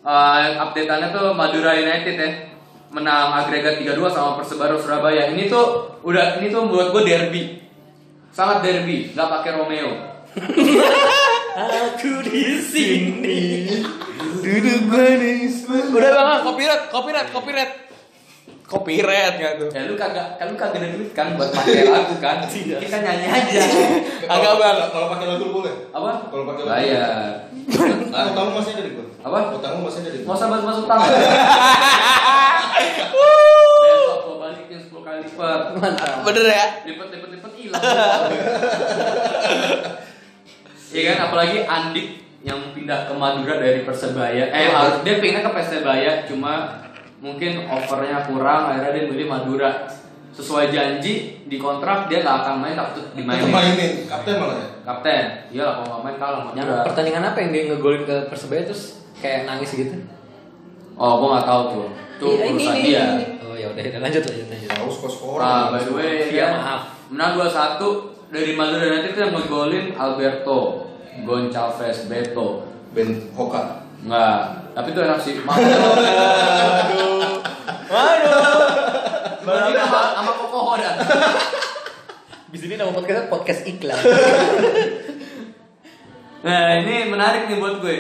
[SPEAKER 2] Eh update-annya tuh Madura United ya menang agregat 3-2 sama Persebaro Surabaya. Ini tuh udah ini tuh buat gue derby. Sangat derby, nggak pakai Romeo.
[SPEAKER 1] Aku di sini.
[SPEAKER 4] Udah bang, ah, copyright, copyright, copyright. Copyright nggak tuh?
[SPEAKER 2] Ya lu kagak kan lu kagak ada duit kan buat pakai lagu kan? Kita nyanyi aja.
[SPEAKER 4] Agak bang.
[SPEAKER 5] Kalau pakai lagu boleh.
[SPEAKER 2] Apa?
[SPEAKER 5] Kalau pakai lagu.
[SPEAKER 2] Bayar.
[SPEAKER 5] Ah, utang lu masih ada di gua.
[SPEAKER 2] Apa?
[SPEAKER 5] Utang lu masih ada di
[SPEAKER 2] Mau
[SPEAKER 5] gua.
[SPEAKER 2] usah masuk tangan. Besok gue balikin 10 kali lipat.
[SPEAKER 1] Mantap.
[SPEAKER 4] Bener ya?
[SPEAKER 2] lipet lipet lipet hilang Iya kan apalagi Andik yang pindah ke Madura dari Persebaya
[SPEAKER 1] Iya.
[SPEAKER 2] eh harus dia pindah ke Persebaya cuma mungkin overnya kurang akhirnya dia milih Madura sesuai janji di kontrak dia nggak akan main takut
[SPEAKER 5] Itu
[SPEAKER 2] dimainin
[SPEAKER 5] mainin, kapten malah ya.
[SPEAKER 2] kapten iyalah kalau nggak main kalah sama
[SPEAKER 1] Yang
[SPEAKER 2] Madura
[SPEAKER 1] pertandingan apa yang dia ngegolin ke Persebaya terus kayak nangis gitu?
[SPEAKER 2] oh gua nggak tahu tuh itu
[SPEAKER 1] Iya, ini,
[SPEAKER 2] urusan
[SPEAKER 1] ini,
[SPEAKER 2] dia
[SPEAKER 1] ini. Oh ya udah udah, lanjut lanjut lanjut.
[SPEAKER 5] Tahu skor-skor.
[SPEAKER 2] Nah, by the way,
[SPEAKER 1] Iya,
[SPEAKER 2] dia
[SPEAKER 1] maaf.
[SPEAKER 2] Menang 2-1 dari Madura United itu yang ngegolin Alberto, Goncalves, Beto.
[SPEAKER 5] Ben Hoka.
[SPEAKER 2] Enggak, tapi itu enak sih. Mahal. Aduh.
[SPEAKER 4] Waduh.
[SPEAKER 2] Berarti sama sama Kokoho dah.
[SPEAKER 1] Di sini nama podcastnya podcast iklan.
[SPEAKER 2] Nah, ini menarik nih buat gue.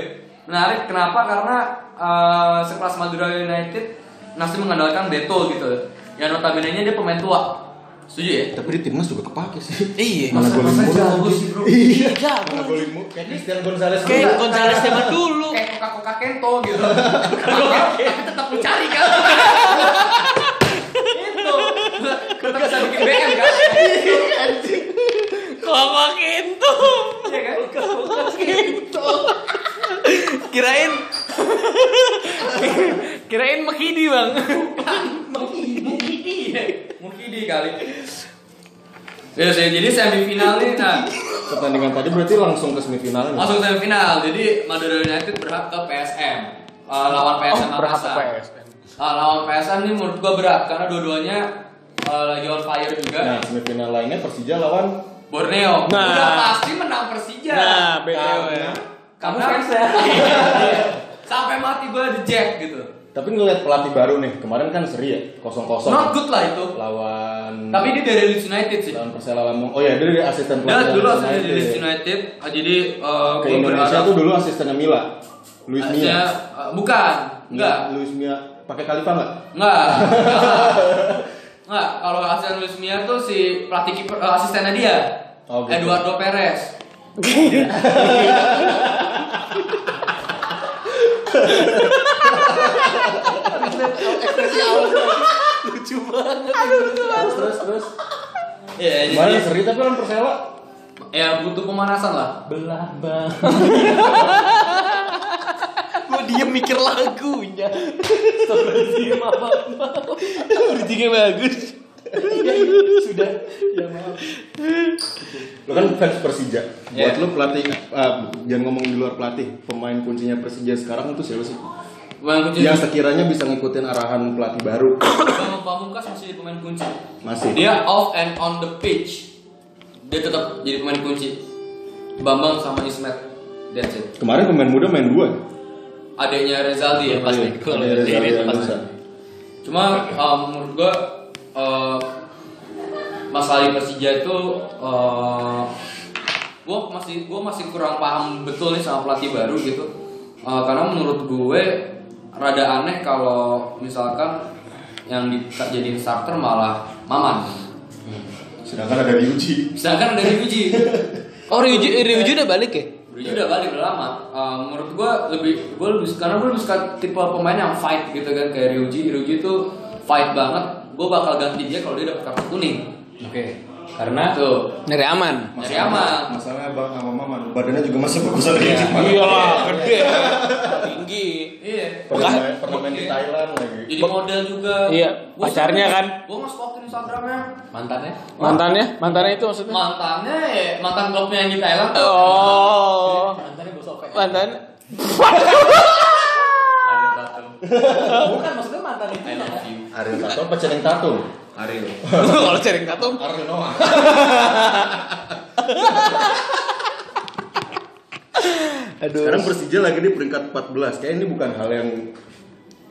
[SPEAKER 2] Menarik kenapa? Karena eh, sekelas Madura United masih mengandalkan Beto gitu. Yang notabene-nya dia pemain tua. Setuju ya?
[SPEAKER 5] Tapi di timnas juga kepake sih.
[SPEAKER 4] Iya.
[SPEAKER 5] Mana golin
[SPEAKER 2] Masa-masa
[SPEAKER 5] mulu.
[SPEAKER 2] jago sih, bro.
[SPEAKER 5] Iya.
[SPEAKER 4] Iya.
[SPEAKER 5] Mana golin mulu. Kayak Christian Gonzalez.
[SPEAKER 4] Kayak Gonzales zaman dulu.
[SPEAKER 2] kayak koka koka Eh, kento gitu tapi tetap mencari kan itu tetap bisa bikin BM kan
[SPEAKER 1] Oh,
[SPEAKER 4] Kelapa kentum.
[SPEAKER 2] Iya kan
[SPEAKER 4] Kirain. Kirain Mekidi bang.
[SPEAKER 2] mukidi ya mukidi kali ya sih jadi semifinal nih nah
[SPEAKER 5] Pertandingan tadi berarti langsung ke semifinal.
[SPEAKER 2] langsung semifinal jadi Madura United berhak ke PSM Eh, lawan PSM Makassar Eh, lawan PSM nih menurut gua berat karena dua-duanya eh, lagi on fire juga
[SPEAKER 5] Nah, semifinal lainnya Persija lawan
[SPEAKER 2] Borneo
[SPEAKER 4] Nah.
[SPEAKER 2] udah pasti menang Persija
[SPEAKER 4] Nah, btw.
[SPEAKER 2] Kamu fans Sampai mati gue di jack gitu.
[SPEAKER 5] tapi ngeliat pelatih baru nih. Kemarin kan seri ya,
[SPEAKER 2] Not
[SPEAKER 5] 0-0
[SPEAKER 2] good lah itu.
[SPEAKER 5] lawan
[SPEAKER 2] Nah. Tapi dia dari Leeds United sih.
[SPEAKER 5] lawan Persela Lampung. Oh ya, dia dari asisten
[SPEAKER 2] Dia
[SPEAKER 5] pelatih.
[SPEAKER 2] dulu
[SPEAKER 5] Leeds
[SPEAKER 2] asalnya dari Leeds
[SPEAKER 5] United.
[SPEAKER 2] United. ah, Jadi eh,
[SPEAKER 5] Ke
[SPEAKER 2] gua
[SPEAKER 5] Indonesia
[SPEAKER 2] berharap
[SPEAKER 5] tuh dulu asistennya Mila. Luis
[SPEAKER 2] aja,
[SPEAKER 5] Mia. Iya,
[SPEAKER 2] eh, bukan. Enggak.
[SPEAKER 5] Luis Mia pakai Khalifa enggak?
[SPEAKER 2] Enggak. Enggak. Kalau asisten Luis Mia tuh si pelatih kiper eh, asistennya dia.
[SPEAKER 5] Oh, gitu.
[SPEAKER 2] Eduardo Perez.
[SPEAKER 5] Terus terus terus.
[SPEAKER 2] Ya,
[SPEAKER 5] Kemarin
[SPEAKER 2] jadi
[SPEAKER 5] seri tapi lawan Persela.
[SPEAKER 2] ya butuh pemanasan lah.
[SPEAKER 1] Belah bang.
[SPEAKER 4] Gue diem mikir lagunya. Bridgingnya bagus.
[SPEAKER 1] Sudah. Ya maaf.
[SPEAKER 5] Lo kan fans Persija. Buat
[SPEAKER 2] Iya.
[SPEAKER 5] lo pelatih, ah, jangan ngomong di luar pelatih. Pemain kuncinya Persija sekarang itu siapa sih?
[SPEAKER 2] Pemain kunci.
[SPEAKER 5] Yang sekiranya bisa ngikutin arahan pelatih baru
[SPEAKER 2] Bambang Pamungkas masih jadi pemain kunci.
[SPEAKER 5] masih.
[SPEAKER 2] Dia off and on the pitch. Dia tetap jadi pemain kunci. Bambang sama Ismet. That's it.
[SPEAKER 5] Kemarin pemain muda main dua.
[SPEAKER 2] Adanya Rezaldi ya pasti.
[SPEAKER 5] Kalau Reza Alianza.
[SPEAKER 2] Cuma um, menurut gua uh, masalah di Persija itu uh, gua masih gua masih kurang paham betul nih sama pelatih baru gitu. Uh, karena menurut gue rada aneh kalau misalkan yang dijadiin starter malah Maman.
[SPEAKER 5] Sedangkan ada Ryuji.
[SPEAKER 2] Sedangkan dari Ryuji.
[SPEAKER 4] Oh Ryuji, eh, Ryuji udah balik ya?
[SPEAKER 2] Ryuji udah balik udah lama. Uh, menurut gue lebih gue lebih karena gue lebih suka tipe pemain yang fight gitu kan kayak Ryuji. Ryuji tuh fight banget. Gue bakal ganti dia kalau dia dapat kartu kuning.
[SPEAKER 1] Oke. Karena
[SPEAKER 2] Tuh.
[SPEAKER 4] Nyari aman.
[SPEAKER 2] Nyari aman.
[SPEAKER 5] Masalahnya bang sama mama badannya juga masih bagus ada yang cuma
[SPEAKER 4] Iyalah, gede. Tinggi.
[SPEAKER 2] Iya.
[SPEAKER 5] pernah main- pernah main di Thailand lagi.
[SPEAKER 2] Jadi model juga.
[SPEAKER 4] Iya, pacarnya kan?
[SPEAKER 2] Gue nge-stalkin Instagramnya. Mantannya?
[SPEAKER 4] Mantannya, mantannya itu maksudnya?
[SPEAKER 2] Mantannya ya, mantan klubnya yang di Thailand. tuh.
[SPEAKER 4] Oh.
[SPEAKER 1] mantannya gue sobek.
[SPEAKER 4] Mantan.
[SPEAKER 2] Ariel Tatum.
[SPEAKER 1] Bukan maksudnya mantan itu.
[SPEAKER 2] I love you.
[SPEAKER 5] Ariel Tato apa Ceneng Tato?
[SPEAKER 2] Ariel.
[SPEAKER 4] Kalau sering tatum.
[SPEAKER 5] Ariel Noah.
[SPEAKER 4] Aduh.
[SPEAKER 5] Sekarang Persija lagi di peringkat 14. Kayak ini bukan hal yang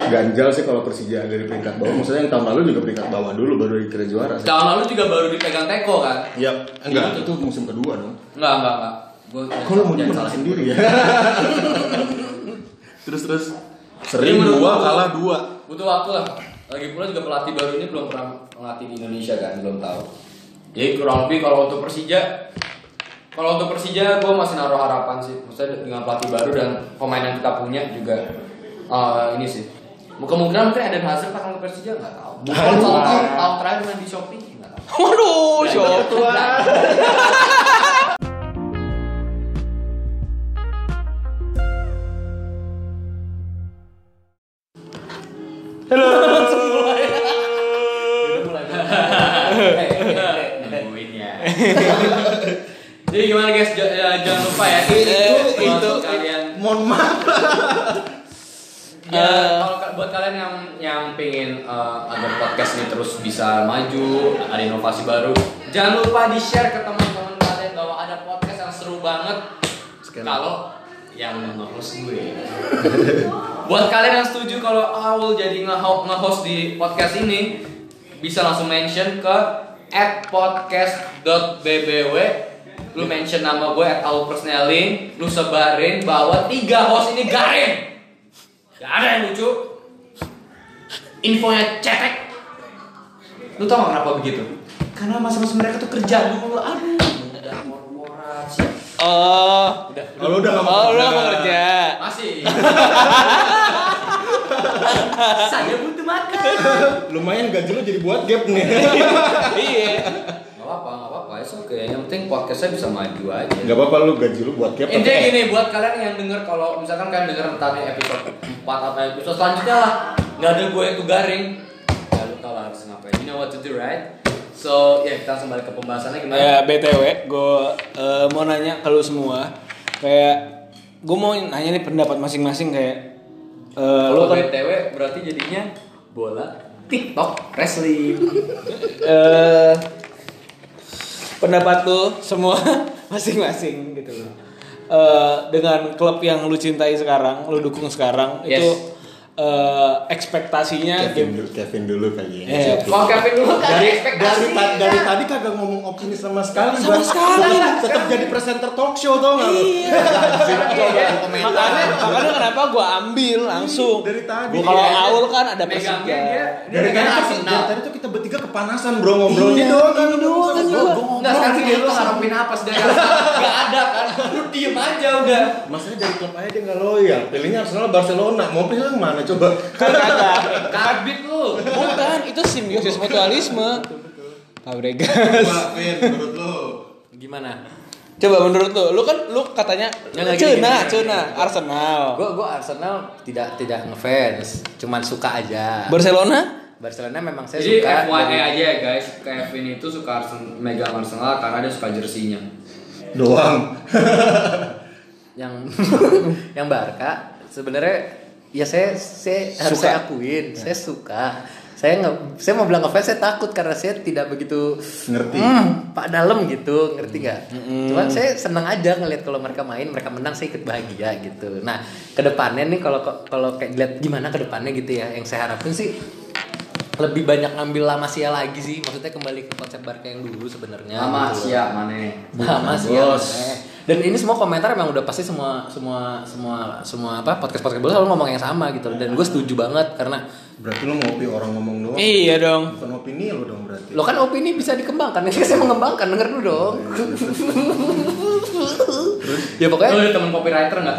[SPEAKER 5] ganjal sih kalau Persija ada di peringkat bawah. Maksudnya yang tahun lalu juga peringkat bawah dulu baru dikira juara. Sih.
[SPEAKER 2] Tahun lalu juga baru dipegang Teko kan?
[SPEAKER 5] Ya, enggak itu musim kedua dong.
[SPEAKER 2] Enggak, enggak, enggak. Gue
[SPEAKER 5] Kalau mau jangan salah sendiri ya. terus terus
[SPEAKER 2] Ini
[SPEAKER 5] sering
[SPEAKER 2] menurut
[SPEAKER 5] dua
[SPEAKER 2] gua-
[SPEAKER 5] kalah dua.
[SPEAKER 2] butuh waktu lah. Lagi pula juga pelatih baru ini belum pernah melatih di Indonesia kan, belum tahu. Jadi kurang lebih kalau untuk Persija, kalau untuk Persija gue masih naruh harapan sih. Maksudnya dengan pelatih baru dan pemain yang kita punya juga eh, ini sih. Kemungkinan mungkin ada Hazard akan ke Persija nggak tahu. Bukan tahu tahu tahu terakhir main di Shopee nggak tahu.
[SPEAKER 4] Waduh, Jok.
[SPEAKER 2] ya. Jadi gimana guys, J- ya, jangan lupa ya itu
[SPEAKER 4] itu-
[SPEAKER 2] itu
[SPEAKER 4] itu-
[SPEAKER 2] kalian
[SPEAKER 5] Mohon maaf.
[SPEAKER 2] Ya,
[SPEAKER 4] Eh.
[SPEAKER 2] kalau ka- buat kalian yang yang pengen eh, agar podcast ini terus bisa maju, ada inovasi baru, jangan lupa di share ke teman-teman kalian bahwa ada podcast yang seru banget.
[SPEAKER 5] Sekali.
[SPEAKER 2] Kalau yang nge-host gue. buat kalian yang setuju kalau Awul jadi nge-ho- nge-host di podcast ini, bisa langsung mention ke @podcast.bbw lu mention nama gue at Awul Persnelling, lu sebarin bahwa tiga host ini garing. Gak ada yang lucu. Infonya cetek. Lu tau gak kenapa begitu? Karena masa-masa mereka tuh kerja dulu. Aduh. Udah mor-moran sih.
[SPEAKER 4] Oh.
[SPEAKER 5] Oh, lu udah nggak mau
[SPEAKER 4] Oh, lu nggak mau
[SPEAKER 5] kerja.
[SPEAKER 4] kerja.
[SPEAKER 2] Masih. Saya butuh makan.
[SPEAKER 5] Lumayan gaji lu jadi buat gap nih.
[SPEAKER 4] Iya.
[SPEAKER 2] Gak apa-apa, gak apa-apa. It's okay. Yang penting podcastnya bisa maju aja.
[SPEAKER 5] Gak apa-apa lu gaji lu buat gap.
[SPEAKER 2] Intinya
[SPEAKER 5] tapi-
[SPEAKER 2] gini, Ya, buat kalian yang denger kalau misalkan kalian denger tadi episode 4 atau episode selanjutnya lah Nggak ada gue itu garing Ya lu tau lah harus ngapain, you know what to do right? So, ya kita kembali ke pembahasannya gimana?
[SPEAKER 4] Ya BTW, gue eh, mau nanya ke lu semua. Kayak gue mau nanya nih pendapat masing-masing kayak eh,
[SPEAKER 2] Kalau
[SPEAKER 4] lu kan
[SPEAKER 2] BTW berarti jadinya bola TikTok wrestling.
[SPEAKER 4] eh pendapat lu semua masing-masing gitu loh. Eh, dengan klub yang lu cintai sekarang, lu dukung sekarang
[SPEAKER 2] Yes.
[SPEAKER 4] itu eh, ekspektasinya gitu.
[SPEAKER 5] Kevin dulu, Kevin dulu kali ya.
[SPEAKER 4] Eh,
[SPEAKER 2] Kalau Kevin dulu kan ada ekspektasi.
[SPEAKER 5] dari, ta- dari tadi kagak ngomong optimis sama sekali
[SPEAKER 4] Sama
[SPEAKER 5] Bang.
[SPEAKER 4] sekali.
[SPEAKER 5] Tetep-
[SPEAKER 4] Iya.
[SPEAKER 5] tetep jadi presenter talk show tau gak lu
[SPEAKER 4] makanya makanya kenapa gue ambil langsung
[SPEAKER 5] Dari tadi.
[SPEAKER 4] Gua kalau
[SPEAKER 5] Iya.
[SPEAKER 4] awal kan ada persija
[SPEAKER 2] megangnya dia dia
[SPEAKER 5] dari tadi
[SPEAKER 2] megang
[SPEAKER 5] tuh-
[SPEAKER 2] Arsenal.
[SPEAKER 5] dari tadi tuh kita bertiga kepanasan bro ngobrol
[SPEAKER 4] Iya,
[SPEAKER 5] ini doang kan
[SPEAKER 4] ini doang
[SPEAKER 5] Gua-
[SPEAKER 4] kan juga.
[SPEAKER 5] gua ngobrol.
[SPEAKER 2] Enggak sekarang dia lu ngarepin apa sedangkan enggak ada kan. Lu diem aja udah.
[SPEAKER 5] masalahnya dari klub aja dia nggak loyal pilihnya Arsenal Barcelona mau pilih yang mana coba
[SPEAKER 4] kagak
[SPEAKER 2] Karbit lu.
[SPEAKER 4] bukan itu simbiosis mutualisme Fabregas
[SPEAKER 6] Vin, menurut lu?
[SPEAKER 2] Gimana?
[SPEAKER 4] coba menurut lu lu kan lu katanya
[SPEAKER 1] Ya, nggak, gini,
[SPEAKER 4] cuna
[SPEAKER 1] gini, gini.
[SPEAKER 4] cuna Arsenal
[SPEAKER 1] Gue gue Arsenal tidak tidak ngefans, cuman suka aja.
[SPEAKER 4] Barcelona
[SPEAKER 1] Barcelona memang saya
[SPEAKER 2] Jadi
[SPEAKER 1] suka.
[SPEAKER 2] FYI
[SPEAKER 1] dari-
[SPEAKER 2] aja ya guys, Kevin itu suka Arsen- megang Arsenal karena dia suka jersinya.
[SPEAKER 5] doang
[SPEAKER 1] yang yang Barca sebenarnya ya saya saya harus
[SPEAKER 4] Suka.
[SPEAKER 1] saya akuin, saya suka. Saya nggak saya mau bilang ngefans saya takut karena saya tidak begitu
[SPEAKER 5] Ngerti.
[SPEAKER 1] "Hmm, Pak dalam gitu, ngerti nggak? Cuman saya seneng aja ngelihat kalau mereka main, mereka menang saya ikut bahagia gitu. Nah, kedepannya nih kalau kalau kayak lihat gimana kedepannya gitu ya, yang saya harapin sih lebih banyak ngambil lama sia lagi sih, maksudnya kembali ke konsep Barca yang dulu sebenarnya.
[SPEAKER 2] Sama
[SPEAKER 1] gitu.
[SPEAKER 2] siap mana?
[SPEAKER 1] Sama sih ya. Eh, Dan ini semua komentar emang udah pasti semua semua semua semua apa podcast podcast bola selalu ngomong yang sama gitu loh. dan gue setuju banget karena
[SPEAKER 5] berarti lo ngopi orang ngomong doang
[SPEAKER 4] Iya dong.
[SPEAKER 5] bukan opini lo dong berarti
[SPEAKER 1] lo kan opini bisa dikembangkan ya saya mengembangkan denger dulu dong ya
[SPEAKER 2] Lu
[SPEAKER 1] pokoknya
[SPEAKER 2] ada temen copywriter nggak?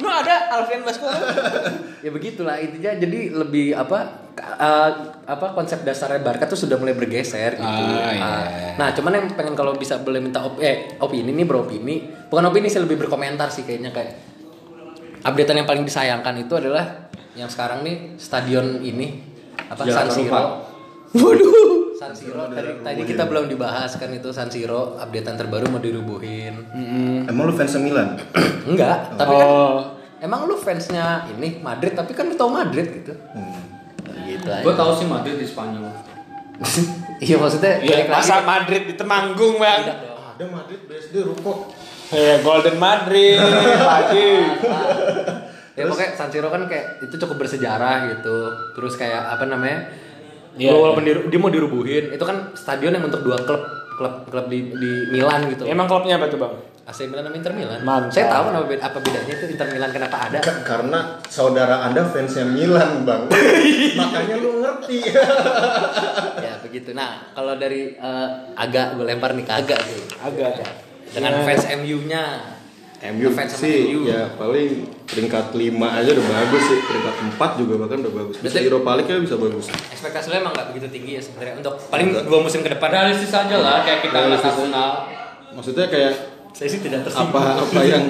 [SPEAKER 4] Lu ada Alfian Basko?
[SPEAKER 1] ya begitulah intinya jadi lebih apa ka- eh, apa konsep dasarnya Barca tuh sudah mulai bergeser gitu
[SPEAKER 4] Ah, iya.
[SPEAKER 1] Ah, nah cuman yang pengen kalau bisa boleh minta op eh opini nih beropini bukan opini sih lebih berkomentar sih kayaknya kayak updatean yang paling disayangkan itu adalah yang sekarang nih stadion ini apa San
[SPEAKER 2] Jakarta
[SPEAKER 1] Siro.
[SPEAKER 2] Rupa.
[SPEAKER 1] Waduh. San Siro tadi, tadi kita belum dibahas kan itu San Siro updatean terbaru mau dirubuhin.
[SPEAKER 5] emang lo fans Milan
[SPEAKER 1] Enggak, tapi kan
[SPEAKER 4] Oh.
[SPEAKER 1] emang lu fansnya ini Madrid tapi kan lu tau Madrid gitu.
[SPEAKER 4] Hmm.
[SPEAKER 1] Gitu aja.
[SPEAKER 2] Gue tau sih Madrid di Spanyol.
[SPEAKER 1] Iya maksudnya
[SPEAKER 4] Iya,
[SPEAKER 1] balik lagi.
[SPEAKER 4] masa Madrid di Temanggung, Bang.
[SPEAKER 5] ada Madrid BSD ruko
[SPEAKER 4] Eh, Golden Madrid
[SPEAKER 1] Iya.
[SPEAKER 4] lagi.
[SPEAKER 1] Ya pokoknya San Siro kan kayak itu cukup bersejarah gitu. Terus kayak apa namanya?
[SPEAKER 4] Iya,
[SPEAKER 1] Lu walaupun diru- dia mau dirubuhin, itu kan stadion yang untuk dua klub klub klub di, di Milan gitu.
[SPEAKER 4] Iya, Emang klubnya apa tuh, Bang?
[SPEAKER 1] AC Milan sama Inter Milan.
[SPEAKER 4] Mantap.
[SPEAKER 1] Saya tahu kenapa beda- apa bedanya itu Inter Milan kenapa ada.
[SPEAKER 5] Kan karena saudara anda fansnya Milan bang makanya lu ngerti
[SPEAKER 1] ya begitu. Nah, kalau dari eh, agak gue lempar nih ke agak sih.
[SPEAKER 4] Agak.
[SPEAKER 1] Dengan
[SPEAKER 4] Gimana?
[SPEAKER 1] fans MU-nya.
[SPEAKER 5] MU
[SPEAKER 1] Fans sama
[SPEAKER 5] Iya sih
[SPEAKER 1] MU.
[SPEAKER 5] ya paling peringkat 5 aja udah bagus sih peringkat 4 juga bahkan udah bagus bisa
[SPEAKER 1] Berarti-
[SPEAKER 5] Europa League ya bisa bagus
[SPEAKER 1] Ekspektasi lo emang nggak begitu tinggi ya sebenarnya untuk paling dua musim ke depan.
[SPEAKER 2] Realistis aja lah, kayak kita nggak
[SPEAKER 5] Realistis.
[SPEAKER 2] Arsenal.
[SPEAKER 5] maksudnya kayak
[SPEAKER 1] Saya sih tidak tersinggung.
[SPEAKER 5] apa apa yang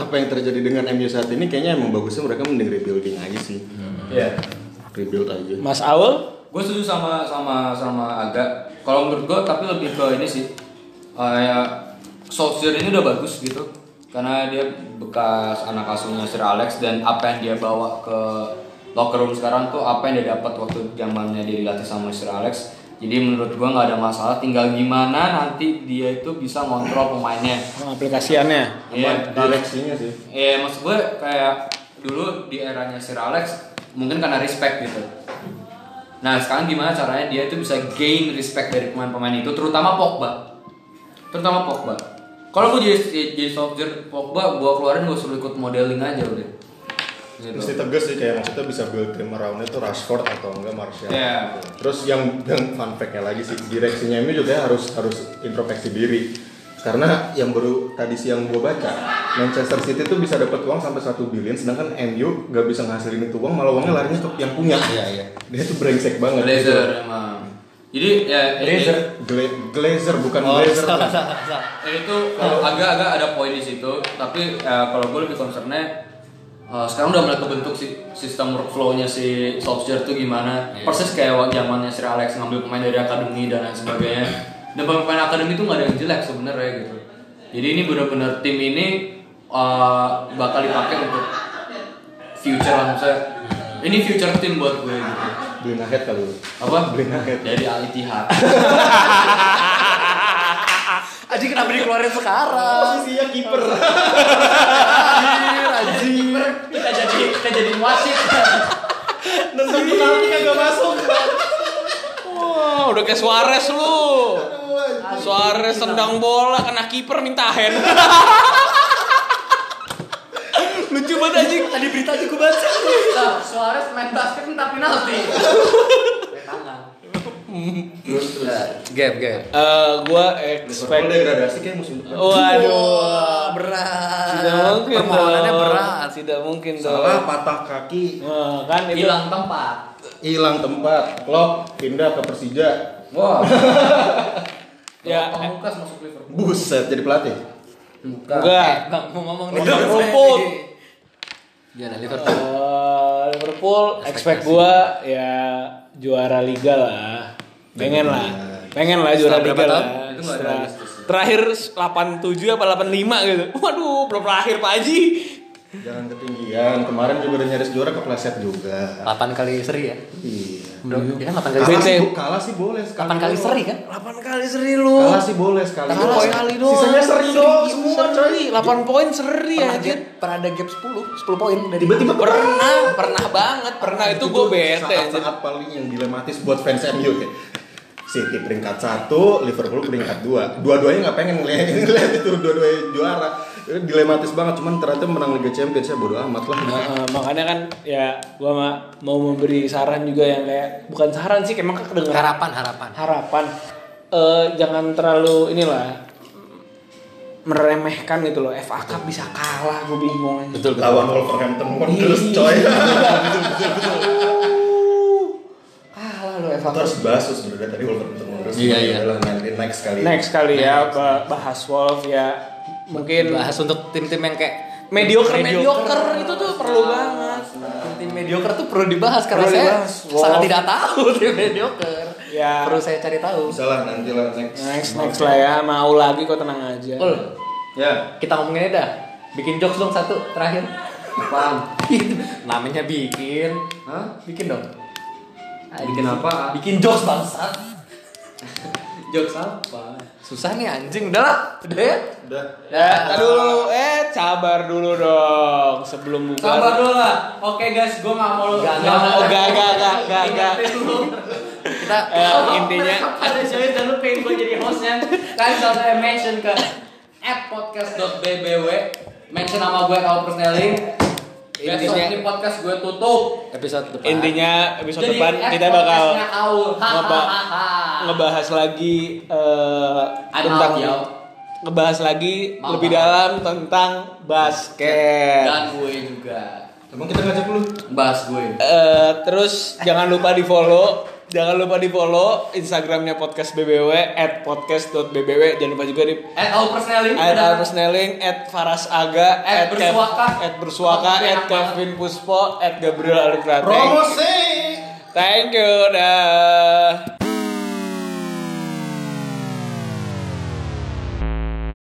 [SPEAKER 5] apa yang terjadi dengan MU saat ini kayaknya emang bagusnya mereka mending rebuilding aja sih
[SPEAKER 2] Iya.
[SPEAKER 5] rebuild aja
[SPEAKER 4] Mas Awel?
[SPEAKER 2] Gue setuju sama sama sama agak. Kalau menurut gue tapi lebih ke ini sih. Kayak Solskjaer ini udah bagus gitu. Karena dia bekas anak asuhnya Sir Alex dan apa yang dia bawa ke locker room sekarang tuh apa yang dia dapat waktu zamannya dia dilatih sama Sir Alex. Jadi menurut gue nggak ada masalah. Tinggal gimana nanti dia itu bisa ngontrol pemainnya.
[SPEAKER 4] oh, Aplikasiannya.
[SPEAKER 2] Iya,
[SPEAKER 5] direksinya sih
[SPEAKER 2] Iya, maksud gue kayak dulu di eranya Sir Alex mungkin karena respect gitu. Nah, sekarang gimana caranya dia itu bisa gain respect dari pemain-pemain itu, terutama Pogba. Terutama Pogba. Kalau gue jadi jadi soldier Pogba, gue keluarin gue suruh ikut modeling aja udah.
[SPEAKER 5] mesti
[SPEAKER 2] Gitu.
[SPEAKER 5] tegas sih kayak maksudnya bisa build tim around itu Rashford atau enggak Martial
[SPEAKER 2] Iya.
[SPEAKER 5] terus yang yang fun fact-nya lagi sih direksinya ini juga harus harus introspeksi diri karena yang baru tadi siang gua baca Manchester City tuh bisa dapat uang sampai 1 billion sedangkan MU nggak bisa ngasilin itu uang malah uangnya larinya ke yang punya dia tuh brengsek banget gitu.
[SPEAKER 2] Blazer emang. Jadi ya
[SPEAKER 5] Glazer Gla- Glazer bukan
[SPEAKER 1] Oh,
[SPEAKER 5] Glazer
[SPEAKER 1] salah, salah, salah.
[SPEAKER 2] Ya, itu agak-agak ada poin di situ tapi eh, kalau gue lebih concernnya eh, sekarang udah mulai kebentuk si sistem workflow-nya si Solskjaer tuh gimana persis kayak waktu zamannya Sir Alex ngambil pemain dari akademi dan lain sebagainya dan pemain akademi itu nggak ada yang jelek sebenarnya gitu jadi ini benar-benar tim ini eh, bakal dipakai untuk future lah maksudnya ini future tim buat gue gitu
[SPEAKER 5] beli nahet nah, kali lu
[SPEAKER 2] apa
[SPEAKER 5] Beli United.
[SPEAKER 2] jadi Al Ittihad
[SPEAKER 1] Aji kenapa dikeluarin sekarang?
[SPEAKER 5] Oh, posisinya kiper
[SPEAKER 2] kita jadi kita jadi wasit
[SPEAKER 5] nendang penalti kagak masuk
[SPEAKER 4] Wah, Oh, udah kayak Suarez lu. Suarez tendang bola kena kiper minta hand. Lucu banget anjing.
[SPEAKER 1] Tadi berita aja gue baca.
[SPEAKER 2] Nah, Suarez main basket minta penalti.
[SPEAKER 1] Game, game.
[SPEAKER 4] Eh, gua
[SPEAKER 5] Liverpool
[SPEAKER 4] expect
[SPEAKER 5] degradasi kayak musim depan
[SPEAKER 4] Oh.
[SPEAKER 2] Eh,
[SPEAKER 1] Wah,
[SPEAKER 4] Waduh.
[SPEAKER 1] berat.
[SPEAKER 4] Tidak mungkin
[SPEAKER 1] Permohonannya
[SPEAKER 4] dong.
[SPEAKER 1] berat.
[SPEAKER 4] Tidak mungkin dong.
[SPEAKER 5] salah patah kaki
[SPEAKER 4] Nah, kan
[SPEAKER 1] Iya.
[SPEAKER 4] itu
[SPEAKER 2] Hilang tempat.
[SPEAKER 5] hilang tempat Klopp pindah ke Persija
[SPEAKER 2] Wah.
[SPEAKER 4] Ya, eh.
[SPEAKER 2] ya, Pamungkas masuk Liverpool.
[SPEAKER 5] buset jadi pelatih
[SPEAKER 4] enggak.
[SPEAKER 1] Eh. Bang, mau ngomong nih.
[SPEAKER 4] Udah rumput.
[SPEAKER 2] Iya,
[SPEAKER 1] Gimana Liverpool?
[SPEAKER 4] Eh, Liverpool expect gua ya juara liga lah. Pengen lah. Pengen lah juara
[SPEAKER 2] Iya. Setelah berapa
[SPEAKER 4] liga lah.
[SPEAKER 2] tahun? Itu nggak
[SPEAKER 4] Setelah-
[SPEAKER 2] realistis ya.
[SPEAKER 4] terakhir 87 apa 85 gitu. Waduh, belum terakhir Pak Haji.
[SPEAKER 5] Jangan ketinggian. Kemarin juga udah nyaris juara kepleset juga.
[SPEAKER 1] 8 kali seri ya.
[SPEAKER 5] Iya.
[SPEAKER 1] Belum, ya kan 8 kali
[SPEAKER 5] Kalah
[SPEAKER 1] seri.
[SPEAKER 5] sih, bo- kalah sih boleh.
[SPEAKER 1] 8 kali seri kan?
[SPEAKER 4] 8 kali seri lu.
[SPEAKER 5] Kalah sih boleh sekali.
[SPEAKER 1] Kalah
[SPEAKER 5] Poin-
[SPEAKER 1] sekali doang.
[SPEAKER 5] Sisanya seri doang semua,
[SPEAKER 4] Semua
[SPEAKER 5] coy.
[SPEAKER 4] seri, 8 poin seri
[SPEAKER 1] Pernah,
[SPEAKER 4] aja.
[SPEAKER 1] gap- pernah ada gap 10, 10 poin dari
[SPEAKER 5] Tiba-tiba
[SPEAKER 4] Pernah, pernah banget, pernah itu gue bete. anjir.
[SPEAKER 5] Saat-saat paling yang dilematis buat fans MU ya. City peringkat satu, Liverpool peringkat dua. Dua-duanya nggak pengen ngelihat ngelihat itu dua-duanya juara. Dilematis banget, cuman ternyata menang Liga Champions ya bodo amat lah.
[SPEAKER 4] Nah, eh, makanya kan ya gua ma- mau memberi saran juga yang kayak bukan saran sih, kayak emang kedengeran
[SPEAKER 1] harapan, harapan.
[SPEAKER 4] harapan eh jangan terlalu inilah meremehkan gitu loh FA Cup bisa kalah gue bingung aja.
[SPEAKER 1] Betul,
[SPEAKER 5] Lawan Wolverhampton
[SPEAKER 4] Iya.
[SPEAKER 5] terus coy.
[SPEAKER 4] kalah loh FA
[SPEAKER 5] Kita
[SPEAKER 4] Cup
[SPEAKER 5] harus bahas tuh sebenarnya tadi Wolverhampton Wanderers.
[SPEAKER 1] Iya, iya.
[SPEAKER 5] Adalah nanti next kali.
[SPEAKER 4] next kali ya ba- bahas Wolf ya mungkin
[SPEAKER 1] Bahas untuk tim-tim yang kayak
[SPEAKER 4] mediocre mediocre itu tuh perlu banget
[SPEAKER 1] tim mediocre tuh perlu dibahas karena
[SPEAKER 4] Perlu
[SPEAKER 1] saya
[SPEAKER 4] dibahas. Wow.
[SPEAKER 1] sangat tidak tahu tim mediocre.
[SPEAKER 4] Ya.
[SPEAKER 1] Perlu saya cari tahu.
[SPEAKER 5] Bisa lah nanti lah next.
[SPEAKER 4] next next lah ya mau lagi kok tenang aja
[SPEAKER 1] Ul,
[SPEAKER 5] Ya.
[SPEAKER 1] kita ngomongin aja dah. Bikin jokes dong satu terakhir. Apaan? Namanya bikin.
[SPEAKER 2] Hah?
[SPEAKER 1] Bikin dong.
[SPEAKER 2] Bikin apa?
[SPEAKER 1] Bikin jokes bangsat.
[SPEAKER 2] Jokes apa?
[SPEAKER 1] Susah nih anjing. Udah lah. Udah ya.
[SPEAKER 5] Udah.
[SPEAKER 4] ya dulu eh sabar dulu dong sebelum buka
[SPEAKER 2] Sabar dulu lah. Oke guys, gue nggak mau
[SPEAKER 1] Nggak,
[SPEAKER 4] nggak mau. Nggak, nggak, nggak, nggak, nggak.
[SPEAKER 2] Ingetin dulu.
[SPEAKER 1] Kita
[SPEAKER 4] Eh, intinya
[SPEAKER 2] Ada saya dan lu pengen gue jadi hostnya. Kalian bisa saya mention ke @podcast.bbw. Mention nama gue kalau personally. Besok
[SPEAKER 4] Intinya-
[SPEAKER 2] ini podcast gue tutup.
[SPEAKER 1] episode depan.
[SPEAKER 4] intinya episode
[SPEAKER 2] Jadi,
[SPEAKER 4] depan
[SPEAKER 2] eh,
[SPEAKER 4] kita bakal
[SPEAKER 2] podcastnya Aul.
[SPEAKER 4] ngeba-
[SPEAKER 2] Hahaha.
[SPEAKER 4] ngebahas lagi eh,
[SPEAKER 2] Ada
[SPEAKER 4] tentang
[SPEAKER 2] lagi, Al.
[SPEAKER 4] ngebahas lagi
[SPEAKER 2] ya. Mau,
[SPEAKER 4] lebih
[SPEAKER 2] mau.
[SPEAKER 4] dalam tentang basket.
[SPEAKER 2] Dan gue juga.
[SPEAKER 5] Emang kita ngajak lu?
[SPEAKER 2] Bahas gue.
[SPEAKER 4] Eh, terus jangan lupa di follow jangan lupa di follow instagramnya podcast bbw at podcast.bbw jangan lupa juga di
[SPEAKER 2] Eh, Aul personally.
[SPEAKER 4] at Alpersneling, at Faras Aga,
[SPEAKER 2] At
[SPEAKER 4] at Kev-
[SPEAKER 2] Bersuaka.
[SPEAKER 4] at Bersuaka,
[SPEAKER 2] Oke,
[SPEAKER 4] at
[SPEAKER 2] apa?
[SPEAKER 4] Kevin Puspo, at Gabriel Alif Rateng.
[SPEAKER 5] Promosi.
[SPEAKER 4] Thank you, dah.